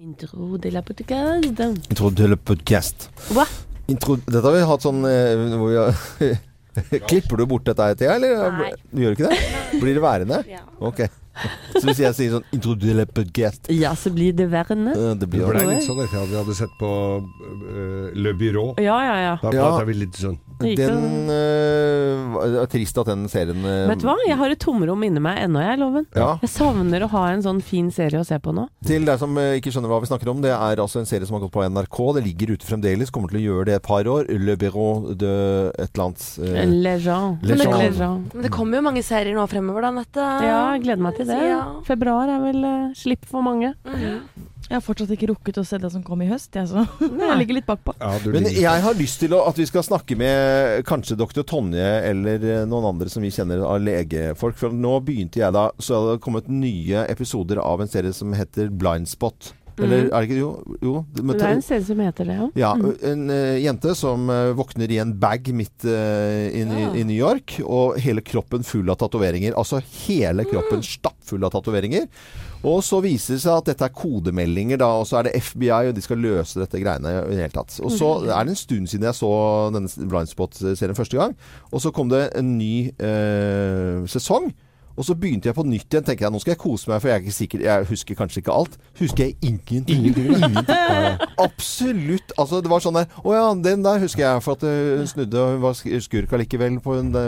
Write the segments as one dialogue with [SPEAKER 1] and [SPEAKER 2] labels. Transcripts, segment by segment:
[SPEAKER 1] Intro de la podcast.
[SPEAKER 2] Intro til podcast.
[SPEAKER 1] Hva?
[SPEAKER 2] Intro, dette har vi hatt sånn eh, hvor vi har Klipper du bort dette her, Thea? Eller?
[SPEAKER 1] Nei.
[SPEAKER 2] Du gjør ikke det? Blir det værende?
[SPEAKER 1] Ja.
[SPEAKER 2] Ok. Så hvis jeg sier sånn Intro til en podcast
[SPEAKER 1] ja, så blir det værende.
[SPEAKER 2] eh, Det
[SPEAKER 1] Det
[SPEAKER 2] blir
[SPEAKER 1] ble-
[SPEAKER 2] jo
[SPEAKER 1] Oi.
[SPEAKER 3] litt sånn etter at vi hadde sett på eh, Le Bureau.
[SPEAKER 1] Ja, ja, ja.
[SPEAKER 3] Da
[SPEAKER 2] Ja.
[SPEAKER 3] pratet vi litt sånn.
[SPEAKER 1] Det gikk
[SPEAKER 2] Den eh, var- Det er trist at den serien eh,
[SPEAKER 1] Vet du hva, jeg har et tomrom inni meg ennå, jeg, Loven.
[SPEAKER 2] Ja.
[SPEAKER 1] Jeg savner å ha en sånn fin serie å se på nå.
[SPEAKER 2] Til deg som eh, ikke skjønner hva vi snakker om, det er altså en serie som har gått på NRK. Det ligger ute fremdeles, kommer til å gjøre det et par år. Le Bureau de et eller annet eh,
[SPEAKER 1] Lejean.
[SPEAKER 2] Le Jean.
[SPEAKER 4] Men det kommer jo mange serier nå fremover, da, Nette.
[SPEAKER 1] Ja, jeg gleder meg til det.
[SPEAKER 4] Ja.
[SPEAKER 1] Februar er vel eh, slipp for mange.
[SPEAKER 5] Jeg har fortsatt ikke rukket å se det som kom i høst, jeg, så
[SPEAKER 1] Nei.
[SPEAKER 5] jeg ligger litt bakpå.
[SPEAKER 3] Ja, du
[SPEAKER 2] Men
[SPEAKER 3] ligger-
[SPEAKER 2] jeg har lyst til å, at vi skal snakke med kanskje doktor Tonje eller eh, noen andre som vi kjenner av legefolk. For nå begynte jeg da, så hadde det kommet nye episoder av en serie som heter Blindspot. Eller er det ikke Jo. jo
[SPEAKER 1] Men
[SPEAKER 2] med-
[SPEAKER 1] det er en serie som heter det, ja.
[SPEAKER 2] ja, en eh, jente som eh, våkner i en bag midt eh, i, i, i New York, og hele kroppen full av tatoveringer. Altså hele kroppen stappfull av tatoveringer. Og så viser det seg at dette er kodemeldinger, da, og så er det FBI, og de skal løse dette greiene i det hele tatt. Og så er det en stund siden jeg så denne Blindspot-serien første gang, og så kom det en ny eh, sesong. Og så begynte jeg på nytt igjen. tenkte jeg, Nå skal jeg kose meg, for jeg er ikke sikker, jeg husker kanskje ikke alt. Husker jeg ingenting. Absolutt. Altså, det var sånn der Å ja, den der husker jeg, for at eh, hun snudde og hun var sk- skurk allikevel. På en, det,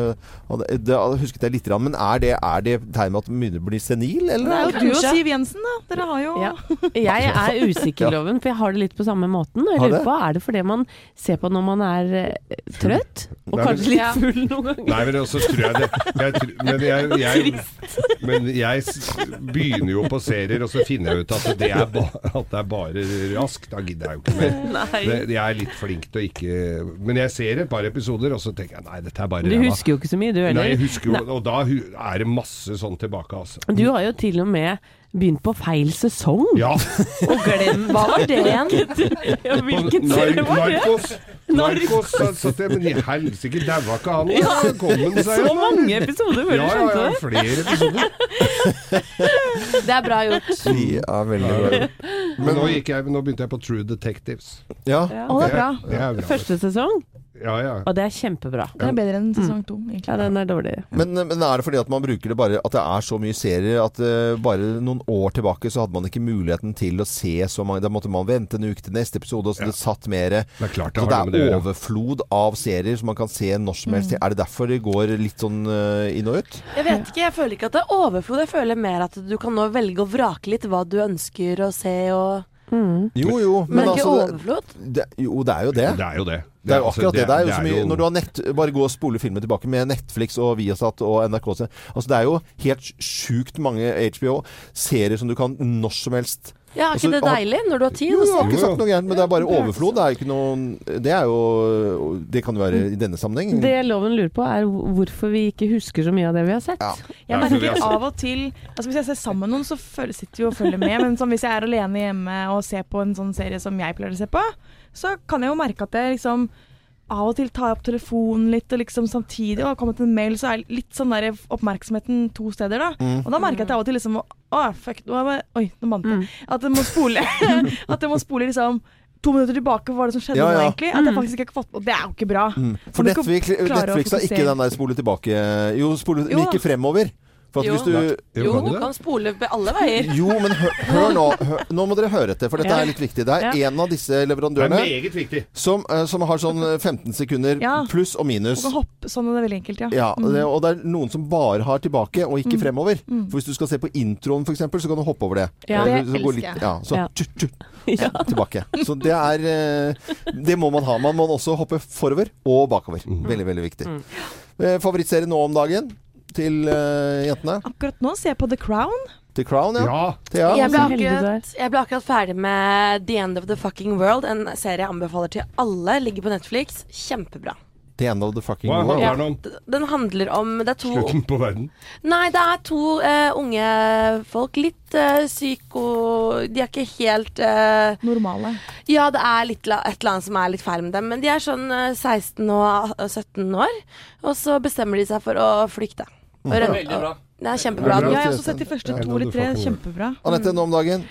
[SPEAKER 2] det, det husket jeg litt, grann, men er det, er det tegn med at man begynner å bli senil,
[SPEAKER 5] Det er
[SPEAKER 2] eller?
[SPEAKER 5] jo du og Siv Jensen, da. Dere har jo
[SPEAKER 1] Ja. Jeg er usikker, Loven, for jeg har det litt på samme måten. Og jeg
[SPEAKER 2] Har
[SPEAKER 1] lurer
[SPEAKER 2] det?
[SPEAKER 1] på, er det fordi man ser på når man er eh, trøtt? Og
[SPEAKER 3] Nei, men-
[SPEAKER 1] kanskje litt full noen ganger?
[SPEAKER 3] Nei, men også tror jeg det jeg, tr- Men jeg, jeg, men jeg s- begynner jo på serier, og så finner jeg ut at det er, ba, at det er bare rask. Da gidder jeg jo ikke mer. Det, jeg er litt flink til å ikke Men jeg ser et par episoder, og så tenker jeg nei, dette er bare
[SPEAKER 1] Du
[SPEAKER 3] ræva.
[SPEAKER 1] husker jo ikke så mye, du
[SPEAKER 3] Nei, jeg
[SPEAKER 1] heller.
[SPEAKER 3] husker jo, og da hu- er det masse sånn tilbake, altså.
[SPEAKER 1] Du har jo til og med begynt på feil sesong.
[SPEAKER 3] Ja.
[SPEAKER 1] Og glem
[SPEAKER 4] Hva var det igjen?
[SPEAKER 1] Ja, Hvilken
[SPEAKER 3] Nar-
[SPEAKER 1] serie var det?
[SPEAKER 3] Narkos. Narkos. da satt jeg, men i helsike, daua ikke han? Ja. Kom han seg
[SPEAKER 1] Så
[SPEAKER 3] jo, da.
[SPEAKER 1] mange episoder før du
[SPEAKER 3] Ja, ja,
[SPEAKER 1] skjønte
[SPEAKER 3] ja,
[SPEAKER 1] det.
[SPEAKER 3] flere episoder.
[SPEAKER 4] Det er bra gjort.
[SPEAKER 2] De er veldig
[SPEAKER 3] Ja,
[SPEAKER 2] bra.
[SPEAKER 3] ja. Men nå, gikk jeg, nå begynte jeg på True Detectives.
[SPEAKER 2] Ja.
[SPEAKER 5] Å, det er bra.
[SPEAKER 3] Det er bra.
[SPEAKER 1] Første sesong,
[SPEAKER 3] Ja, ja.
[SPEAKER 1] og det er kjempebra.
[SPEAKER 5] Det er bedre enn sesong to,
[SPEAKER 1] Ja,
[SPEAKER 5] egentlig.
[SPEAKER 1] den er dårlig.
[SPEAKER 2] Men, eh, men er det fordi at man bruker det bare At det er så mye serier at eh, bare noen år tilbake så hadde man ikke muligheten til å se så mange Da måtte man vente en uke til neste episode, og så det satt mer
[SPEAKER 3] Det er klart
[SPEAKER 2] Så
[SPEAKER 3] det
[SPEAKER 2] det
[SPEAKER 3] har noe med det å
[SPEAKER 2] er
[SPEAKER 3] gjøre.
[SPEAKER 2] overflod av serier som man kan se når som helst.
[SPEAKER 4] Mm.
[SPEAKER 2] Er det derfor det går litt sånn eh, inn og ut?
[SPEAKER 4] Jeg vet ikke, jeg føler ikke at det er overflod. Jeg føler mer at du kan nå velge å vrake litt hva du ønsker å se og
[SPEAKER 2] Jo, jo.
[SPEAKER 4] Mm. Men,
[SPEAKER 2] Men,
[SPEAKER 4] ikke
[SPEAKER 2] altså det,
[SPEAKER 4] overflod.
[SPEAKER 2] det, Jo, det er jo det.
[SPEAKER 3] Det er jo det. Altså,
[SPEAKER 2] Det er jo akkurat det. Det er jo
[SPEAKER 3] det
[SPEAKER 2] så mye Når du har nett Bare gå og spole filmen tilbake med Netflix og Viasat og NRK sin. Altså, det er jo helt sjukt mange HBO-serier som du kan når som helst
[SPEAKER 4] Ja, er
[SPEAKER 2] Altså,
[SPEAKER 4] ikke det
[SPEAKER 2] har-
[SPEAKER 4] deilig når du har tid?
[SPEAKER 2] Jo,
[SPEAKER 4] Altså, å
[SPEAKER 2] jeg har
[SPEAKER 4] se?
[SPEAKER 2] ikke
[SPEAKER 3] Jo, jo.
[SPEAKER 2] sagt noe gærent, men det er bare overflod. Det er jo ikke noe Det er jo Det kan jo være i denne sammenheng.
[SPEAKER 1] Det loven lurer på, er hvorfor vi ikke husker så mye av det vi har sett.
[SPEAKER 2] Ja.
[SPEAKER 5] Jeg
[SPEAKER 3] Nei, for vi
[SPEAKER 5] merker
[SPEAKER 3] har sett-
[SPEAKER 5] av og til altså Hvis jeg ser sammen med noen, så føler, sitter vi og følger med. Men sånn, hvis jeg er alene hjemme og ser på en sånn serie som jeg pleier å se på, så kan jeg jo merke at jeg liksom av og til tar jeg opp telefonen litt, og liksom samtidig og har kommet en mail, så er litt sånn der oppmerksomheten to steder, da.
[SPEAKER 2] Mm.
[SPEAKER 5] Og da merker jeg at jeg av og til liksom må- Å, fuck, nå er jeg, oi, nå vant jeg. At jeg må spole At jeg må spole liksom to minutter tilbake, hva var det som skjedde
[SPEAKER 2] Ja,
[SPEAKER 5] nå,
[SPEAKER 2] ja. Mm.
[SPEAKER 5] egentlig? At jeg faktisk ikke har fått Og det er jo ikke bra.
[SPEAKER 2] For
[SPEAKER 5] Om du ikke
[SPEAKER 2] Netflix,
[SPEAKER 5] klarer å
[SPEAKER 2] Netflix har ikke
[SPEAKER 5] fokusere.
[SPEAKER 2] den der spole tilbake Jo, spole
[SPEAKER 5] Jo da.
[SPEAKER 2] like fremover. For at
[SPEAKER 4] Jo.
[SPEAKER 2] hvis du
[SPEAKER 3] Jo,
[SPEAKER 4] Jo,
[SPEAKER 3] kan
[SPEAKER 4] du
[SPEAKER 3] du det?
[SPEAKER 4] kan spole be- alle veier.
[SPEAKER 2] Jo, men hør, hør nå. Hør, nå må dere høre etter, for dette
[SPEAKER 1] Ja.
[SPEAKER 2] er litt viktig. Det er
[SPEAKER 1] Ja.
[SPEAKER 2] en av disse
[SPEAKER 3] Det er
[SPEAKER 2] leverandørene
[SPEAKER 3] meget viktig.
[SPEAKER 2] som, eh, som har sånn eh, 15 sekunder
[SPEAKER 5] Ja.
[SPEAKER 2] pluss og minus.
[SPEAKER 5] Og kan hoppe sånn, og det er veldig enkelt, ja.
[SPEAKER 2] Ja,
[SPEAKER 5] Mm.
[SPEAKER 2] det, og det er noen som bare har tilbake, og ikke fremover. For hvis du skal se på introen, f.eks., så kan du hoppe over det.
[SPEAKER 1] Ja,
[SPEAKER 2] Eller
[SPEAKER 5] det
[SPEAKER 2] så gå
[SPEAKER 5] elsker jeg.
[SPEAKER 2] litt, ja, så
[SPEAKER 1] Ja.
[SPEAKER 2] tju, tju,
[SPEAKER 1] Ja.
[SPEAKER 2] tilbake. Så det er eh, Det må man ha. Man må også hoppe forover og bakover. Veldig, veldig viktig. Eh, Favorittserie nå om dagen til eh, jentene?
[SPEAKER 5] Akkurat nå ser jeg på The Crown.
[SPEAKER 2] Til Crown, ja.
[SPEAKER 3] Ja.
[SPEAKER 2] Thea?
[SPEAKER 4] Jeg ble,
[SPEAKER 1] så heldig du er.
[SPEAKER 4] akkurat, jeg ble akkurat ferdig med The End of the Fucking World, en serie jeg anbefaler til alle. Ligger på Netflix. Kjempebra.
[SPEAKER 2] The end of the fucking
[SPEAKER 3] Hva
[SPEAKER 2] world.
[SPEAKER 3] handler den om?
[SPEAKER 4] D- Den handler om Det er to
[SPEAKER 3] Slutten på verden.
[SPEAKER 4] Nei, det er to eh, unge folk. Litt eh, psyko... De er ikke helt eh,
[SPEAKER 5] Normale.
[SPEAKER 4] Ja, det er litt, la- et eller annet som er litt feil med dem, men de er sånn eh, 16 og a- 17 år. Og så bestemmer de seg for å flykte. Og
[SPEAKER 2] Mm.
[SPEAKER 4] rømme.
[SPEAKER 6] Veldig bra.
[SPEAKER 4] Det er
[SPEAKER 3] Det er
[SPEAKER 4] kjempebra.
[SPEAKER 5] Jeg
[SPEAKER 3] bra.
[SPEAKER 4] Ja,
[SPEAKER 5] har også sett de første
[SPEAKER 3] Ja,
[SPEAKER 5] to eller tre.
[SPEAKER 3] Fucking World.
[SPEAKER 5] Kjempebra.
[SPEAKER 2] Anette, nå om dagen?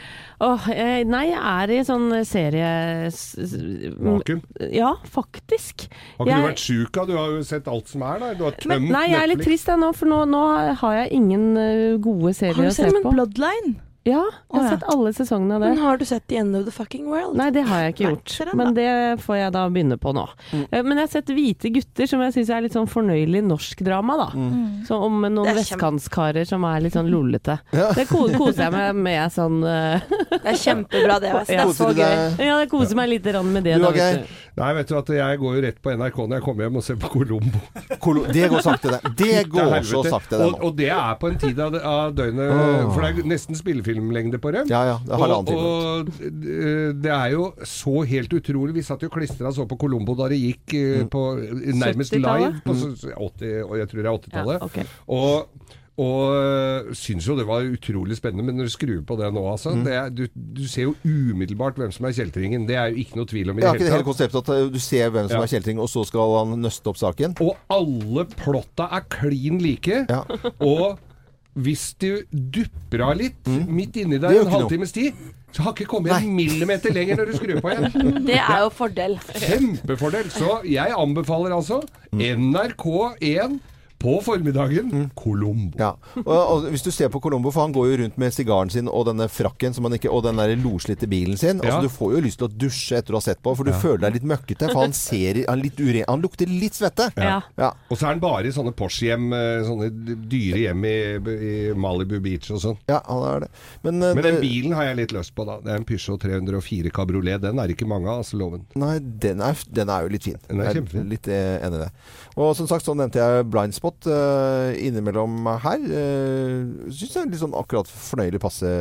[SPEAKER 1] Åh, eh, nei, jeg er i sånn serie... s- s-
[SPEAKER 3] Vakuum.
[SPEAKER 1] Ja, faktisk.
[SPEAKER 3] Har ikke du
[SPEAKER 1] Mm. Jeg-
[SPEAKER 3] vært sjuk av? Du har jo sett alt som er der. Du har tømt
[SPEAKER 1] Men, nei, jeg er litt
[SPEAKER 3] Netflix.
[SPEAKER 1] trist jeg nå, for nå, nå har jeg ingen eh, gode
[SPEAKER 5] Har
[SPEAKER 1] serier
[SPEAKER 5] du
[SPEAKER 1] å se
[SPEAKER 5] sett en
[SPEAKER 1] på.
[SPEAKER 5] Bloodline?
[SPEAKER 1] Ja, jeg
[SPEAKER 5] Å,
[SPEAKER 1] har
[SPEAKER 5] ja.
[SPEAKER 1] sett alle sesongene av det.
[SPEAKER 4] Men har du sett The End of the Fucking World?
[SPEAKER 1] Nei, det har jeg ikke
[SPEAKER 5] Nei,
[SPEAKER 1] gjort.
[SPEAKER 5] ser den
[SPEAKER 1] Men det får jeg da begynne på nå. Eh, Men jeg har sett Hvite gutter, som jeg syns er litt sånn fornøyelig norsk drama, da. Så om noen
[SPEAKER 4] Det er kjempe-
[SPEAKER 1] vestkantskarer som er litt sånn lollete. Det ko koser jeg meg med sånn eh,
[SPEAKER 4] Det er kjempebra, det. ass. Det er så
[SPEAKER 2] Koser du
[SPEAKER 4] gøy.
[SPEAKER 2] deg?
[SPEAKER 1] Ja, jeg koser meg litt grann med det,
[SPEAKER 2] Du,
[SPEAKER 1] da.
[SPEAKER 2] Geir?
[SPEAKER 1] Vet du.
[SPEAKER 3] Nei, vet du at jeg går jo rett på NRK når jeg kommer hjem og ser på Colombo.
[SPEAKER 2] Kolo- Det går sakte, det. Det går
[SPEAKER 3] Helvete.
[SPEAKER 2] så sakte, det
[SPEAKER 3] og,
[SPEAKER 2] nå.
[SPEAKER 3] og det er på en tid av, av døgnet
[SPEAKER 2] Åh.
[SPEAKER 3] For det er nesten spillefilmlengde på dem.
[SPEAKER 2] Ja, ja. Det er halvannen
[SPEAKER 3] og,
[SPEAKER 2] time.
[SPEAKER 3] og d- det er jo så helt utrolig. Vi satt jo klistra og så på Colombo da det gikk eh,
[SPEAKER 2] Mm.
[SPEAKER 3] på nærmest
[SPEAKER 1] 70-tallet?
[SPEAKER 3] live på s- 80, og jeg tror det er 80-tallet.
[SPEAKER 1] Ja, ok.
[SPEAKER 3] Og og øh, syns jo det var utrolig spennende, men når du skrur på det nå, altså
[SPEAKER 2] Mm.
[SPEAKER 3] det er, du, du ser jo umiddelbart hvem som er kjeltringen. Det er jo ikke noe tvil om
[SPEAKER 2] Jeg
[SPEAKER 3] i det
[SPEAKER 2] har ikke det
[SPEAKER 3] hele
[SPEAKER 2] hele
[SPEAKER 3] tatt.
[SPEAKER 2] konseptet at eh, du ser hvem som
[SPEAKER 3] Ja.
[SPEAKER 2] er kjeltring, og så skal han nøste opp saken.
[SPEAKER 3] Og alle plotta er klin like.
[SPEAKER 2] Ja.
[SPEAKER 3] Og hvis du dupper av litt midt inni
[SPEAKER 2] Mm. Det
[SPEAKER 3] der
[SPEAKER 2] gjør
[SPEAKER 3] en
[SPEAKER 2] ikke noe.
[SPEAKER 3] halvtimes tid, så har ikke kommet en millimeter lenger når du skrur på igjen.
[SPEAKER 4] Det er jo fordel.
[SPEAKER 3] Kjempefordel. Så jeg anbefaler altså
[SPEAKER 2] Mm.
[SPEAKER 3] NRK1 på formiddagen. Colombo.
[SPEAKER 2] Ja. Og, og hvis du ser på Colombo, for han går jo rundt med sigaren sin og denne frakken som han ikke, og den der loslitte bilen sin.
[SPEAKER 3] Ja.
[SPEAKER 2] Altså, du får jo lyst til å dusje etter å ha sett på, for du føler deg litt møkkete. For han ser i- han, er litt ure, han lukter litt svette.
[SPEAKER 1] Ja.
[SPEAKER 2] Ja.
[SPEAKER 3] Og så er han bare i sånne Porsche-hjem, eh, sånne dyre hjem i, i Malibu Beach og sånn.
[SPEAKER 2] Ja, han er det. Men, eh,
[SPEAKER 3] Men den
[SPEAKER 2] det-
[SPEAKER 3] bilen har jeg litt lyst på, da. Det er en Peugeot 304 Cabriolet. Den er ikke mange av, altså, loven.
[SPEAKER 2] Nei, den er, den er jo litt fin.
[SPEAKER 3] Den er
[SPEAKER 2] Jeg
[SPEAKER 3] kjempefin.
[SPEAKER 2] Litt eh, enig i det. Og som sagt, så nevnte jeg blindspot uh, innimellom her. Uh, Syns jeg er litt sånn akkurat fornøyelig passe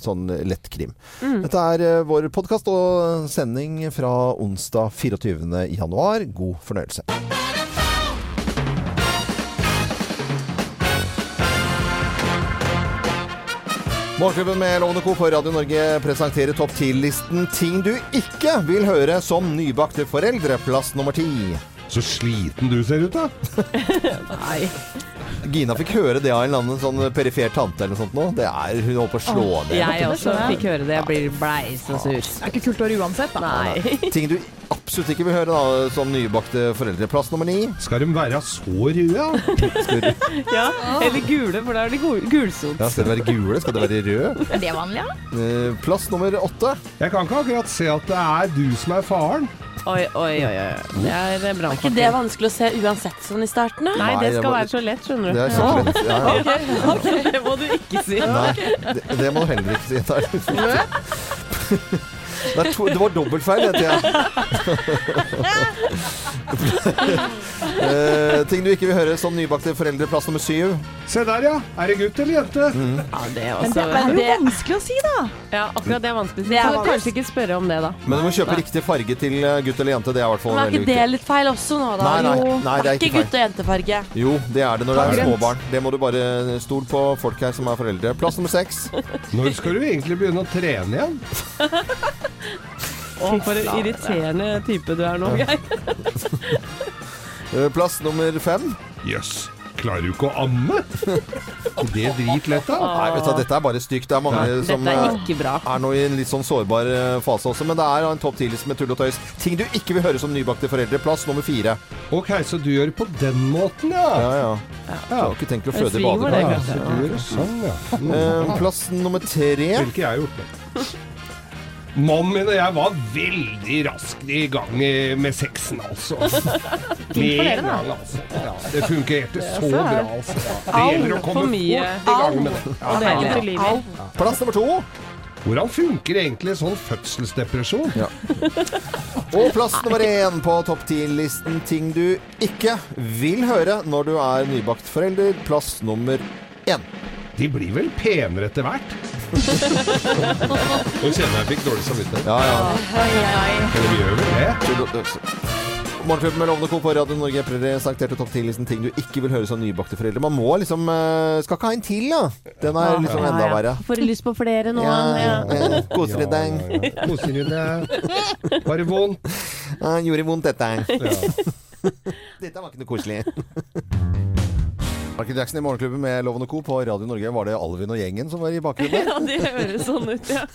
[SPEAKER 2] sånn lett krim. Dette er eh, vår podkast og sending fra onsdag 24. januar. God fornøyelse. Morgenklubben med Lovende Co. på Radio Norge presenterer topp 10-listen ting du ikke vil høre som nybakte foreldre. Plass nummer ti.
[SPEAKER 3] Så sliten du ser ut, da!
[SPEAKER 1] Nei.
[SPEAKER 2] Gina fikk høre det av en eller annen sånn perifer tante eller noe sånt nå. Det er, hun holdt på å slå ned.
[SPEAKER 1] Jeg også fikk høre det. Jeg blir blei så sur.
[SPEAKER 5] Det er ikke kult år uansett, da.
[SPEAKER 1] Nei.
[SPEAKER 2] Ting du absolutt ikke vil høre da, som nybakte foreldre. Plass nummer ni.
[SPEAKER 3] Skal de være så røde? da?
[SPEAKER 1] Ja, eller gule, for da er det gul- gulsot.
[SPEAKER 2] Ja, skal det være gule? Skal det være rød?
[SPEAKER 5] Er det vanlig, ja?
[SPEAKER 2] Eh, Plass nummer åtte.
[SPEAKER 3] Jeg kan ikke akkurat se at det er du som er faren.
[SPEAKER 1] Oi, oi, oi. oi. Det er eh,
[SPEAKER 4] Ikke det
[SPEAKER 1] brannfakkel.
[SPEAKER 4] vanskelig å se uansett sånn i starten, da?
[SPEAKER 1] Nei, det
[SPEAKER 2] Nei, det
[SPEAKER 1] skal
[SPEAKER 2] var-
[SPEAKER 1] være så lett, skjønner du.
[SPEAKER 2] Det er kjempelett. Ja, ja.
[SPEAKER 1] Det må du ikke si.
[SPEAKER 2] Nei, det, det må du heller ikke si. Det er litt viktig. Det, er to, det var dobbeltfeil, heter jeg. Eh, ting du ikke vil høre som nybakte foreldre, plass nummer syv.
[SPEAKER 3] Se der, ja. Er det gutt eller jente?
[SPEAKER 1] Ja, det er
[SPEAKER 5] Men Altså,
[SPEAKER 1] også
[SPEAKER 5] det er jo
[SPEAKER 4] det-
[SPEAKER 5] vanskelig å si, da.
[SPEAKER 1] Ja, akkurat det er vanskelig.
[SPEAKER 4] Det er
[SPEAKER 1] Så
[SPEAKER 4] vanskelig.
[SPEAKER 1] kanskje ikke spørre om det, da.
[SPEAKER 2] Men du må kjøpe riktig farge til eh, gutt eller jente. Det er i hvert fall
[SPEAKER 4] Men er
[SPEAKER 2] veldig
[SPEAKER 4] ikke det
[SPEAKER 2] viktig.
[SPEAKER 4] litt feil også nå, da?
[SPEAKER 2] Nei, nei,
[SPEAKER 4] Jo.
[SPEAKER 2] nei, det er ikke
[SPEAKER 4] gutt- og jentefarge.
[SPEAKER 2] Jo, det er det når det er
[SPEAKER 3] Grønt.
[SPEAKER 2] små barn. Det må du bare stole på folk her som er foreldre. Plass nummer seks.
[SPEAKER 3] Når skal du egentlig begynne å trene igjen?
[SPEAKER 1] Å, for en irriterende type du er nå, Geir.
[SPEAKER 2] Eh, Plass nummer fem.
[SPEAKER 3] Jøss, yes. klarer du ikke å amme? Det er dritlett, da.
[SPEAKER 2] Nei, vet du, hva, dette er bare stygt. Det er mange som
[SPEAKER 1] Dette er
[SPEAKER 2] eh,
[SPEAKER 1] ikke bra.
[SPEAKER 2] er nå i en litt sånn sårbar eh, fase også, men det er en topp 10-liste med tull og tøys. Ting du ikke vil høre som nybakte foreldre. Plass nummer fire.
[SPEAKER 3] Ok, så du gjør det på den måten, ja.
[SPEAKER 2] Ja, ja. Jeg har ikke tenkt å føde i
[SPEAKER 1] svinger det,
[SPEAKER 2] badekar.
[SPEAKER 3] ja så du gjør det sånn, ja.
[SPEAKER 2] Eh,
[SPEAKER 3] Mm.
[SPEAKER 2] Plass nummer tre.
[SPEAKER 3] Ville ikke jeg gjort det. Mannen min og jeg var veldig raskt i gang i- med sexen, altså. Med en gang, altså. Ja, det fungerte så bra, altså. Det gjelder å komme
[SPEAKER 1] for
[SPEAKER 3] fort i
[SPEAKER 1] mye.
[SPEAKER 3] gang med det. Ja, ja, ja.
[SPEAKER 2] Plass nummer to.
[SPEAKER 3] Hvordan funker egentlig sånn fødselsdepresjon?
[SPEAKER 2] Og plass nummer én på topp 10-listen ting du ikke vil høre når du er nybakt forelder. Plass nummer én.
[SPEAKER 3] De blir vel penere etter hvert? Nå kjenner jeg jeg fikk dårlig samvittighet.
[SPEAKER 2] Ja, ja.
[SPEAKER 3] Men de gjør vel det?
[SPEAKER 2] Tull og tøys. Morgenklubben med Lovende Co. på Radio Norge presenterte topp 10-listen ting du ikke vil høre som nybakte foreldre. Man må liksom eh, Skal ikke ha en til, da. Den er liksom enda verre.
[SPEAKER 1] Får lyst på flere nå.
[SPEAKER 2] Ja, Koser
[SPEAKER 3] Ja,
[SPEAKER 2] deg.
[SPEAKER 3] ja, ja. Koser du deg? Var det vondt?
[SPEAKER 2] Ja, Gjorde vondt, dette.
[SPEAKER 3] Ja.
[SPEAKER 2] Dette var ikke noe koselig. Michael Jackson i Morgenklubben med Loven og Co. På Radio Norge var det Alvin og gjengen som var i bakgrunnen.
[SPEAKER 1] Ja, det høres sånn ut, ja.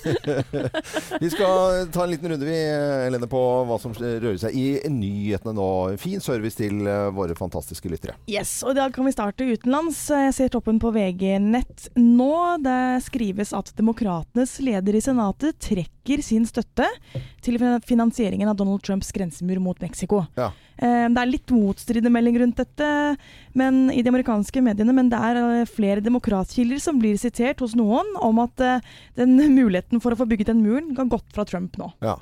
[SPEAKER 2] Vi skal øh, ta en liten runde vi, øh, Helene, på hva som rører seg i nyhetene nå. Fin service til eh, våre fantastiske lyttere.
[SPEAKER 5] Yes, og I dag kan vi starte utenlands. Jeg ser toppen på VG-nett nå. Det skrives at demokratenes leder i Senatet trekker sin støtte til fin- finansieringen av Donald Trumps grensemur mot Mexico.
[SPEAKER 2] Ja.
[SPEAKER 5] Eh, Det er litt motstridende melding rundt dette men, i de amerikanske mediene, men det er eh, flere demokratkilder som blir sitert hos noen om at eh, den muligheten for å få bygget den muren har gått fra Trump nå.
[SPEAKER 2] Ja.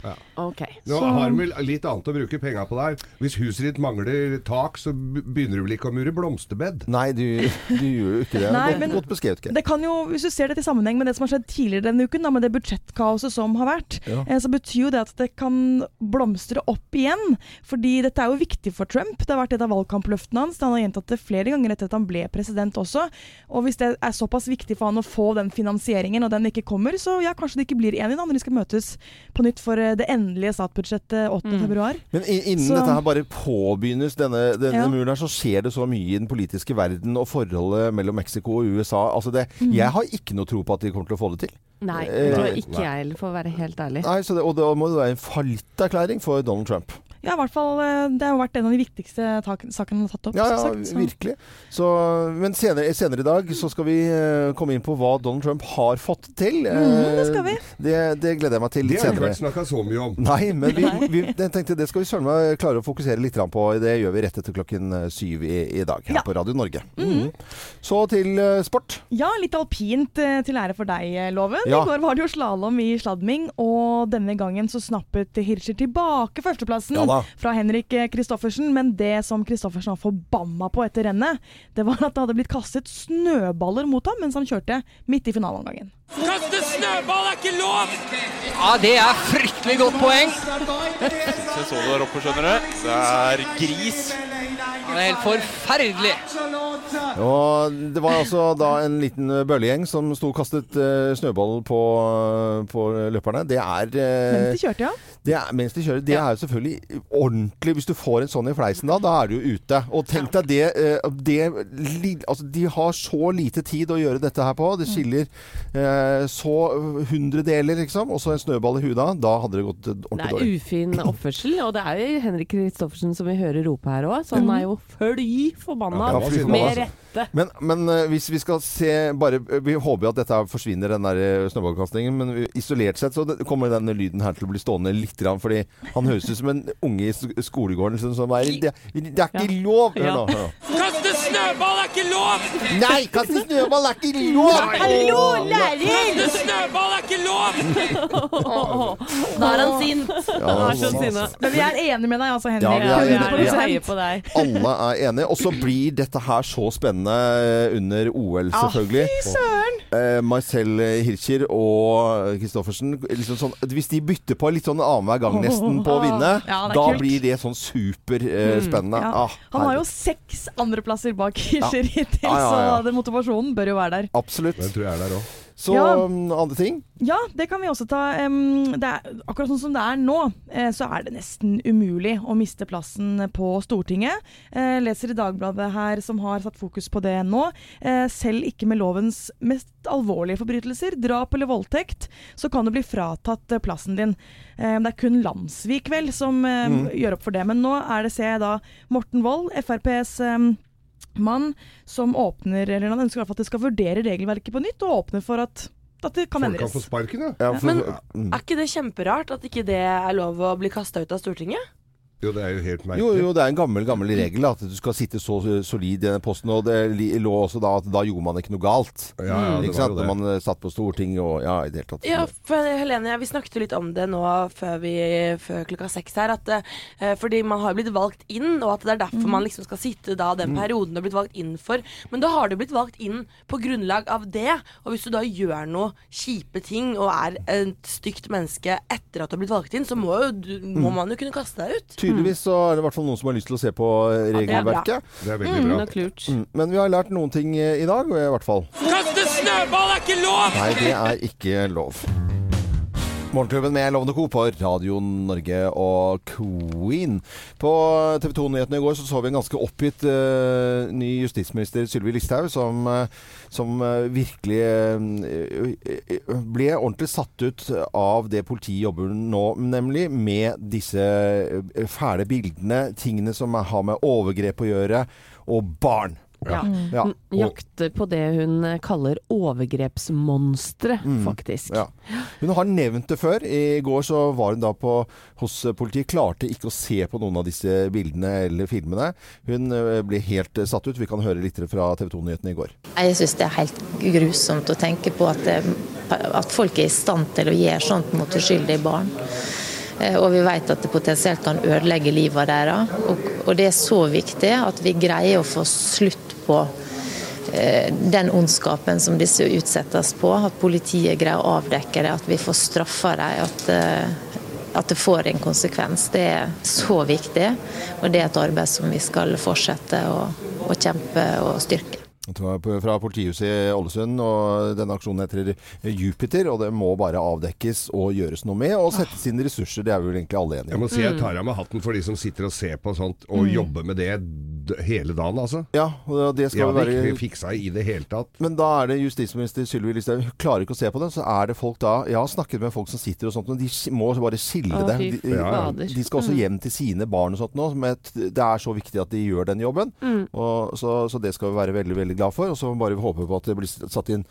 [SPEAKER 1] Ok.
[SPEAKER 3] Nå
[SPEAKER 5] Så-
[SPEAKER 3] har vi litt annet å bruke penga på der. Hvis huset ditt mangler tak, så be- begynner du vel ikke å mure blomsterbed?
[SPEAKER 2] Nei, du, du gjør jo ikke det.
[SPEAKER 5] Nei,
[SPEAKER 2] godt,
[SPEAKER 5] men-
[SPEAKER 2] godt beskrevet, Geir.
[SPEAKER 5] Det kan jo, Hvis du ser dette i sammenheng med det som har skjedd tidligere denne uken, da, med det budsjettkaoset som har vært,
[SPEAKER 2] Ja.
[SPEAKER 5] eh, så betyr jo det at det kan blomstre opp igjen. Fordi dette er jo viktig for Trump. Det har vært et av valgkampløftene hans. Han har gjentatt det flere ganger etter at han ble president også. Og hvis det er såpass viktig for han å få den finansieringen, og den ikke kommer, så ja, kanskje de ikke blir enige da når de skal møtes på nytt for eh, det endelige statsbudsjettet 8. februar.
[SPEAKER 2] Men i- innen
[SPEAKER 5] Så-
[SPEAKER 2] dette her bare påbegynnes, denne, denne
[SPEAKER 5] Ja.
[SPEAKER 2] muren her, så skjer det så mye i den politiske verden og forholdet mellom Mexico og USA. Altså det,
[SPEAKER 5] Mhm.
[SPEAKER 2] Jeg har ikke noe tro på at de kommer til å få det til.
[SPEAKER 1] Nei,
[SPEAKER 2] Eh,
[SPEAKER 1] det tror jeg ikke
[SPEAKER 3] nei.
[SPEAKER 1] jeg heller, for å være helt ærlig.
[SPEAKER 2] Nei, så det, Og da må det være en fallitterklæring for Donald Trump.
[SPEAKER 5] Ja, i hvert fall, eh, Det har jo vært en av de viktigste tak- sakene han har tatt opp.
[SPEAKER 2] Ja,
[SPEAKER 5] som
[SPEAKER 2] ja,
[SPEAKER 5] sagt, sånn. så-
[SPEAKER 2] virkelig. Så, men senere, senere i dag så skal vi eh, komme inn på hva Donald Trump har fått til.
[SPEAKER 5] Mhm, det skal vi.
[SPEAKER 2] Eh, Det, det gleder jeg meg til
[SPEAKER 3] Det
[SPEAKER 2] litt
[SPEAKER 3] har ikke
[SPEAKER 2] senere.
[SPEAKER 3] vært snakka så mye om.
[SPEAKER 2] Nei, men vi, vi, jeg tenkte det skal vi søren meg klare å fokusere litt grann på. Det gjør vi rett etter klokken eh, syv i, i dag her
[SPEAKER 5] Ja.
[SPEAKER 2] på Radio Norge. Mhm. Så til eh, sport.
[SPEAKER 5] Ja, litt alpint eh, til ære for deg, eh, Loven.
[SPEAKER 2] Ja.
[SPEAKER 5] I går var det jo slalåm i sladming, og denne gangen så snappet Hirscher tilbake førsteplassen
[SPEAKER 2] Ja da.
[SPEAKER 5] fra Henrik eh, Kristoffersen. Men det som Kristoffersen var forbanna på etter rennet, det var at det hadde blitt kastet snøballer mot ham mens han kjørte midt i finaleomgangen.
[SPEAKER 6] Kaste snøball er ikke lov!
[SPEAKER 7] Ja, det er fryktelig godt poeng.
[SPEAKER 8] Jeg så det der oppe, skjønner du. Det er gris.
[SPEAKER 7] Det er helt forferdelig.
[SPEAKER 2] Og det var altså da en liten eh, bøllegjeng som sto og kastet eh, snøball på, på løperne. Det er eh,
[SPEAKER 5] Mens de kjørte, ja.
[SPEAKER 2] Det er, mens de kjører, det er jo selvfølgelig ordentlig Hvis du får en sånn i fleisen da, da er du jo ute. Og tenk deg det, eh, det li- altså, De har så lite tid å gjøre dette her på. Det skiller eh, så hundredeler, liksom. Og så en snøball i huda. Da hadde det gått
[SPEAKER 1] Det
[SPEAKER 2] ordentlig
[SPEAKER 1] er
[SPEAKER 2] dårlig.
[SPEAKER 1] ufin oppførsel, og det er jo Henrik Kristoffersen som vi hører rope her òg, så han er jo fly forbanna.
[SPEAKER 2] Ja, fy
[SPEAKER 1] med
[SPEAKER 2] forbanna. altså.
[SPEAKER 1] rette.
[SPEAKER 2] Men, men eh, hvis vi skal se bare, eh, Vi håper jo at dette her forsvinner, den der eh, snøballkastingen. Men vi- isolert sett så det- kommer denne lyden her til å bli stående litt. grann, Fordi han høres ut som en unge i sk- skolegården liksom, som er det, det er ikke lov! Hør nå.
[SPEAKER 1] Ja.
[SPEAKER 2] Hør nå.
[SPEAKER 6] Kaste snøball er ikke lov!
[SPEAKER 2] Nei, kaste snøball er ikke lov!
[SPEAKER 4] Hallo, lærer!
[SPEAKER 6] Kaste snøball er ikke lov!
[SPEAKER 4] Da er han sint.
[SPEAKER 1] Han er så sinna.
[SPEAKER 5] Men vi er enige med deg, altså, Henrik.
[SPEAKER 2] Ja, vi er enige.
[SPEAKER 1] Vi
[SPEAKER 2] Ja.
[SPEAKER 1] heier på deg.
[SPEAKER 2] Alle er enige. Og så blir dette her så spennende under OL, selvfølgelig.
[SPEAKER 5] Fy søren!
[SPEAKER 2] Eh, Marcel Hirscher og Christoffersen liksom sånn, Hvis de bytter på litt sånn annenhver gang nesten på å vinne,
[SPEAKER 5] Ja,
[SPEAKER 2] da
[SPEAKER 5] det er kult. Mm,
[SPEAKER 2] blir det sånn superspennende.
[SPEAKER 5] Ja.
[SPEAKER 2] Ah,
[SPEAKER 5] Han har jo
[SPEAKER 2] herlig.
[SPEAKER 5] seks andreplasser bak Hirscher hittil,
[SPEAKER 2] Ja, ja, ja.
[SPEAKER 5] så den motivasjonen bør jo være der.
[SPEAKER 2] Absolutt.
[SPEAKER 3] Den tror jeg er der òg.
[SPEAKER 2] Så
[SPEAKER 5] Ja.
[SPEAKER 2] mm, andre ting.
[SPEAKER 5] Ja, det kan vi også ta. Em, Det er, akkurat sånn som det er nå, eh, så er det nesten umulig å miste plassen på Stortinget. Eh, leser i Dagbladet her, som har satt fokus på det nå. Eh, selv ikke med lovens mest alvorlige forbrytelser, drap eller voldtekt, så kan du bli fratatt eh, plassen din. Eh, det er kun Landsvik vel som eh,
[SPEAKER 3] Mm.
[SPEAKER 5] gjør opp for det. Men nå er det, ser jeg da, Morten Wold, FrPs em, mann, som åpner, eller han ønsker i hvert fall at det skal vurdere regelverket på nytt, og åpner for at at det kan
[SPEAKER 3] Folk kan
[SPEAKER 5] endres.
[SPEAKER 3] få sparken, ja.
[SPEAKER 2] Ja, for,
[SPEAKER 4] Men-
[SPEAKER 2] mm.
[SPEAKER 4] Er ikke det kjemperart at ikke det er lov å bli kasta ut av Stortinget?
[SPEAKER 3] Jo, det er jo helt
[SPEAKER 2] Jo,
[SPEAKER 3] merkelig.
[SPEAKER 2] jo, det er en gammel gammel regel da, at du skal sitte så solid i den posten. Og det li- lå også da at da gjorde man ikke noe galt.
[SPEAKER 3] Ja, ja, det
[SPEAKER 5] Mm.
[SPEAKER 2] ikke
[SPEAKER 3] var
[SPEAKER 2] sant?
[SPEAKER 3] jo
[SPEAKER 2] Når
[SPEAKER 3] det.
[SPEAKER 2] man eh, satt på Stortinget og ja, i det hele tatt.
[SPEAKER 4] Ja, for Helene, vi snakket jo litt om det nå før, vi, før klokka seks her. At, eh, fordi man har jo blitt valgt inn, og at det er derfor man liksom skal sitte da den perioden du har blitt valgt inn for. Men da har du blitt valgt inn på grunnlag av det. Og hvis du da gjør noe kjipe ting og er et stygt menneske etter at du har blitt valgt inn, så må, jo, du- må man jo kunne kaste deg ut.
[SPEAKER 2] Tydeligvis
[SPEAKER 5] Mm.
[SPEAKER 2] så er det i hvert fall noen som har lyst til å se på eh,
[SPEAKER 4] det er bra.
[SPEAKER 2] regelverket.
[SPEAKER 3] Det er veldig
[SPEAKER 1] Mm,
[SPEAKER 3] bra.
[SPEAKER 1] nok lurt.
[SPEAKER 2] Mm, Men vi har lært noen ting eh, i dag, i hvert fall.
[SPEAKER 6] Kaste snøball er ikke lov!
[SPEAKER 2] Nei, det er ikke lov. Morgenklubben med Lovende Co. på Radio Norge og Queen. På TV 2-nyhetene i går så, så vi en ganske oppgitt eh, ny justisminister, Sylvi Listhaug, som, eh, som eh, virkelig eh, eh, ble ordentlig satt ut av det politiet jobber nå, nemlig med disse eh, fæle bildene, tingene som har med overgrep å gjøre, og barn.
[SPEAKER 1] Ja.
[SPEAKER 2] Ja.
[SPEAKER 1] Hun jakter på det hun eh, kaller overgrepsmonstre, faktisk.
[SPEAKER 2] Mm, Ja. Hun har nevnt det før. I går så var hun da på, hos politiet. Klarte ikke å se på noen av disse bildene eller filmene. Hun ø, ble helt ø, satt ut. Vi kan høre litt fra TV 2-nyhetene i går.
[SPEAKER 9] Nei, Jeg syns det er helt grusomt å tenke på at, det, at folk er i stand til å gjøre sånt mot uskyldige barn. Eh, Og vi vet at det potensielt kan ødelegge livet deres. Og, og det er så viktig at vi greier å få slutt på eh, den ondskapen som disse utsettes på. At politiet greier å avdekke det, at vi får straffa dem. At, eh, at det får en konsekvens. Det er så viktig. Og det er et arbeid som vi skal fortsette å, å kjempe og styrke.
[SPEAKER 2] Det var på- Fra politihuset i Ålesund. og Denne aksjonen heter eh, Jupiter. og Det må bare avdekkes og gjøres noe med. Og settes inn ressurser. Det er vi vel egentlig alle enige
[SPEAKER 3] Jeg
[SPEAKER 2] om.
[SPEAKER 3] må si jeg tar av meg hatten for de som sitter og ser på sånt og jobber med det d hele dagen, altså.
[SPEAKER 2] Ja, og det
[SPEAKER 3] Jeg
[SPEAKER 2] skal
[SPEAKER 3] hadde
[SPEAKER 2] være
[SPEAKER 3] ikke fiksa i det hele tatt.
[SPEAKER 2] Men da er det justisminister Sylvi Listhaug Hun klarer ikke å se på det. Så er det folk da Jeg har snakket med folk som sitter og sånt, og de sk- må bare
[SPEAKER 1] Å,
[SPEAKER 2] skille det.
[SPEAKER 1] fy
[SPEAKER 2] De,
[SPEAKER 1] fader. Mm.
[SPEAKER 2] de skal også hjem til sine barn og sånt nå. Men det er så viktig at de gjør den jobben.
[SPEAKER 1] Mm.
[SPEAKER 2] Og så, så det skal vi være veldig, veldig glad for. Og så bare håpe på at det blir satt inn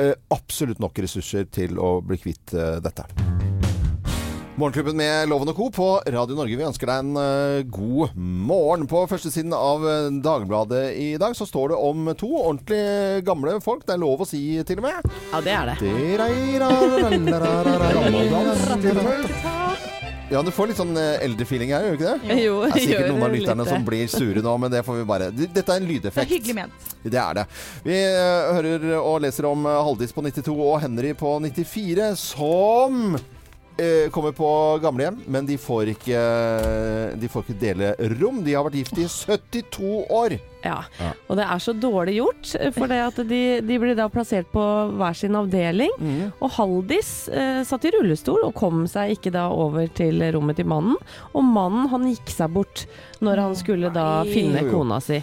[SPEAKER 2] eh, absolutt nok ressurser til å bli kvitt eh, dette. Morgenklubben med Loven og Co. på Radio Norge. Vi ønsker deg en eh, god morgen. På førstesiden av eh, Dagbladet i dag så står det om to ordentlig gamle folk. Det er lov å si til og med.
[SPEAKER 1] Ja, det er det.
[SPEAKER 2] Ja, du får litt sånn eh, eldre-feeling her, gjør du ikke det?
[SPEAKER 1] Jo,
[SPEAKER 2] Det er
[SPEAKER 1] gjør
[SPEAKER 2] sikkert noen av
[SPEAKER 1] litt
[SPEAKER 2] lytterne
[SPEAKER 1] det.
[SPEAKER 2] som blir sure nå, men det får vi bare Dette er en
[SPEAKER 5] Det er
[SPEAKER 2] lydeffekt.
[SPEAKER 5] hyggelig ment.
[SPEAKER 2] Det er det. Vi eh, hører og leser om eh, Haldis på 92 og Henry på 94, som eh, kommer på gamlehjem, men de får, ikke, eh, de får ikke dele rom. De har vært gift i 72 år.
[SPEAKER 1] Ja. Og det er så dårlig gjort, eh, for det at de, de blir da plassert på hver sin avdeling. Og Haldis eh, satt i rullestol og kom seg ikke da over til rommet til mannen. Og mannen han gikk seg bort når han skulle da finne
[SPEAKER 2] Jo, jo.
[SPEAKER 1] kona si.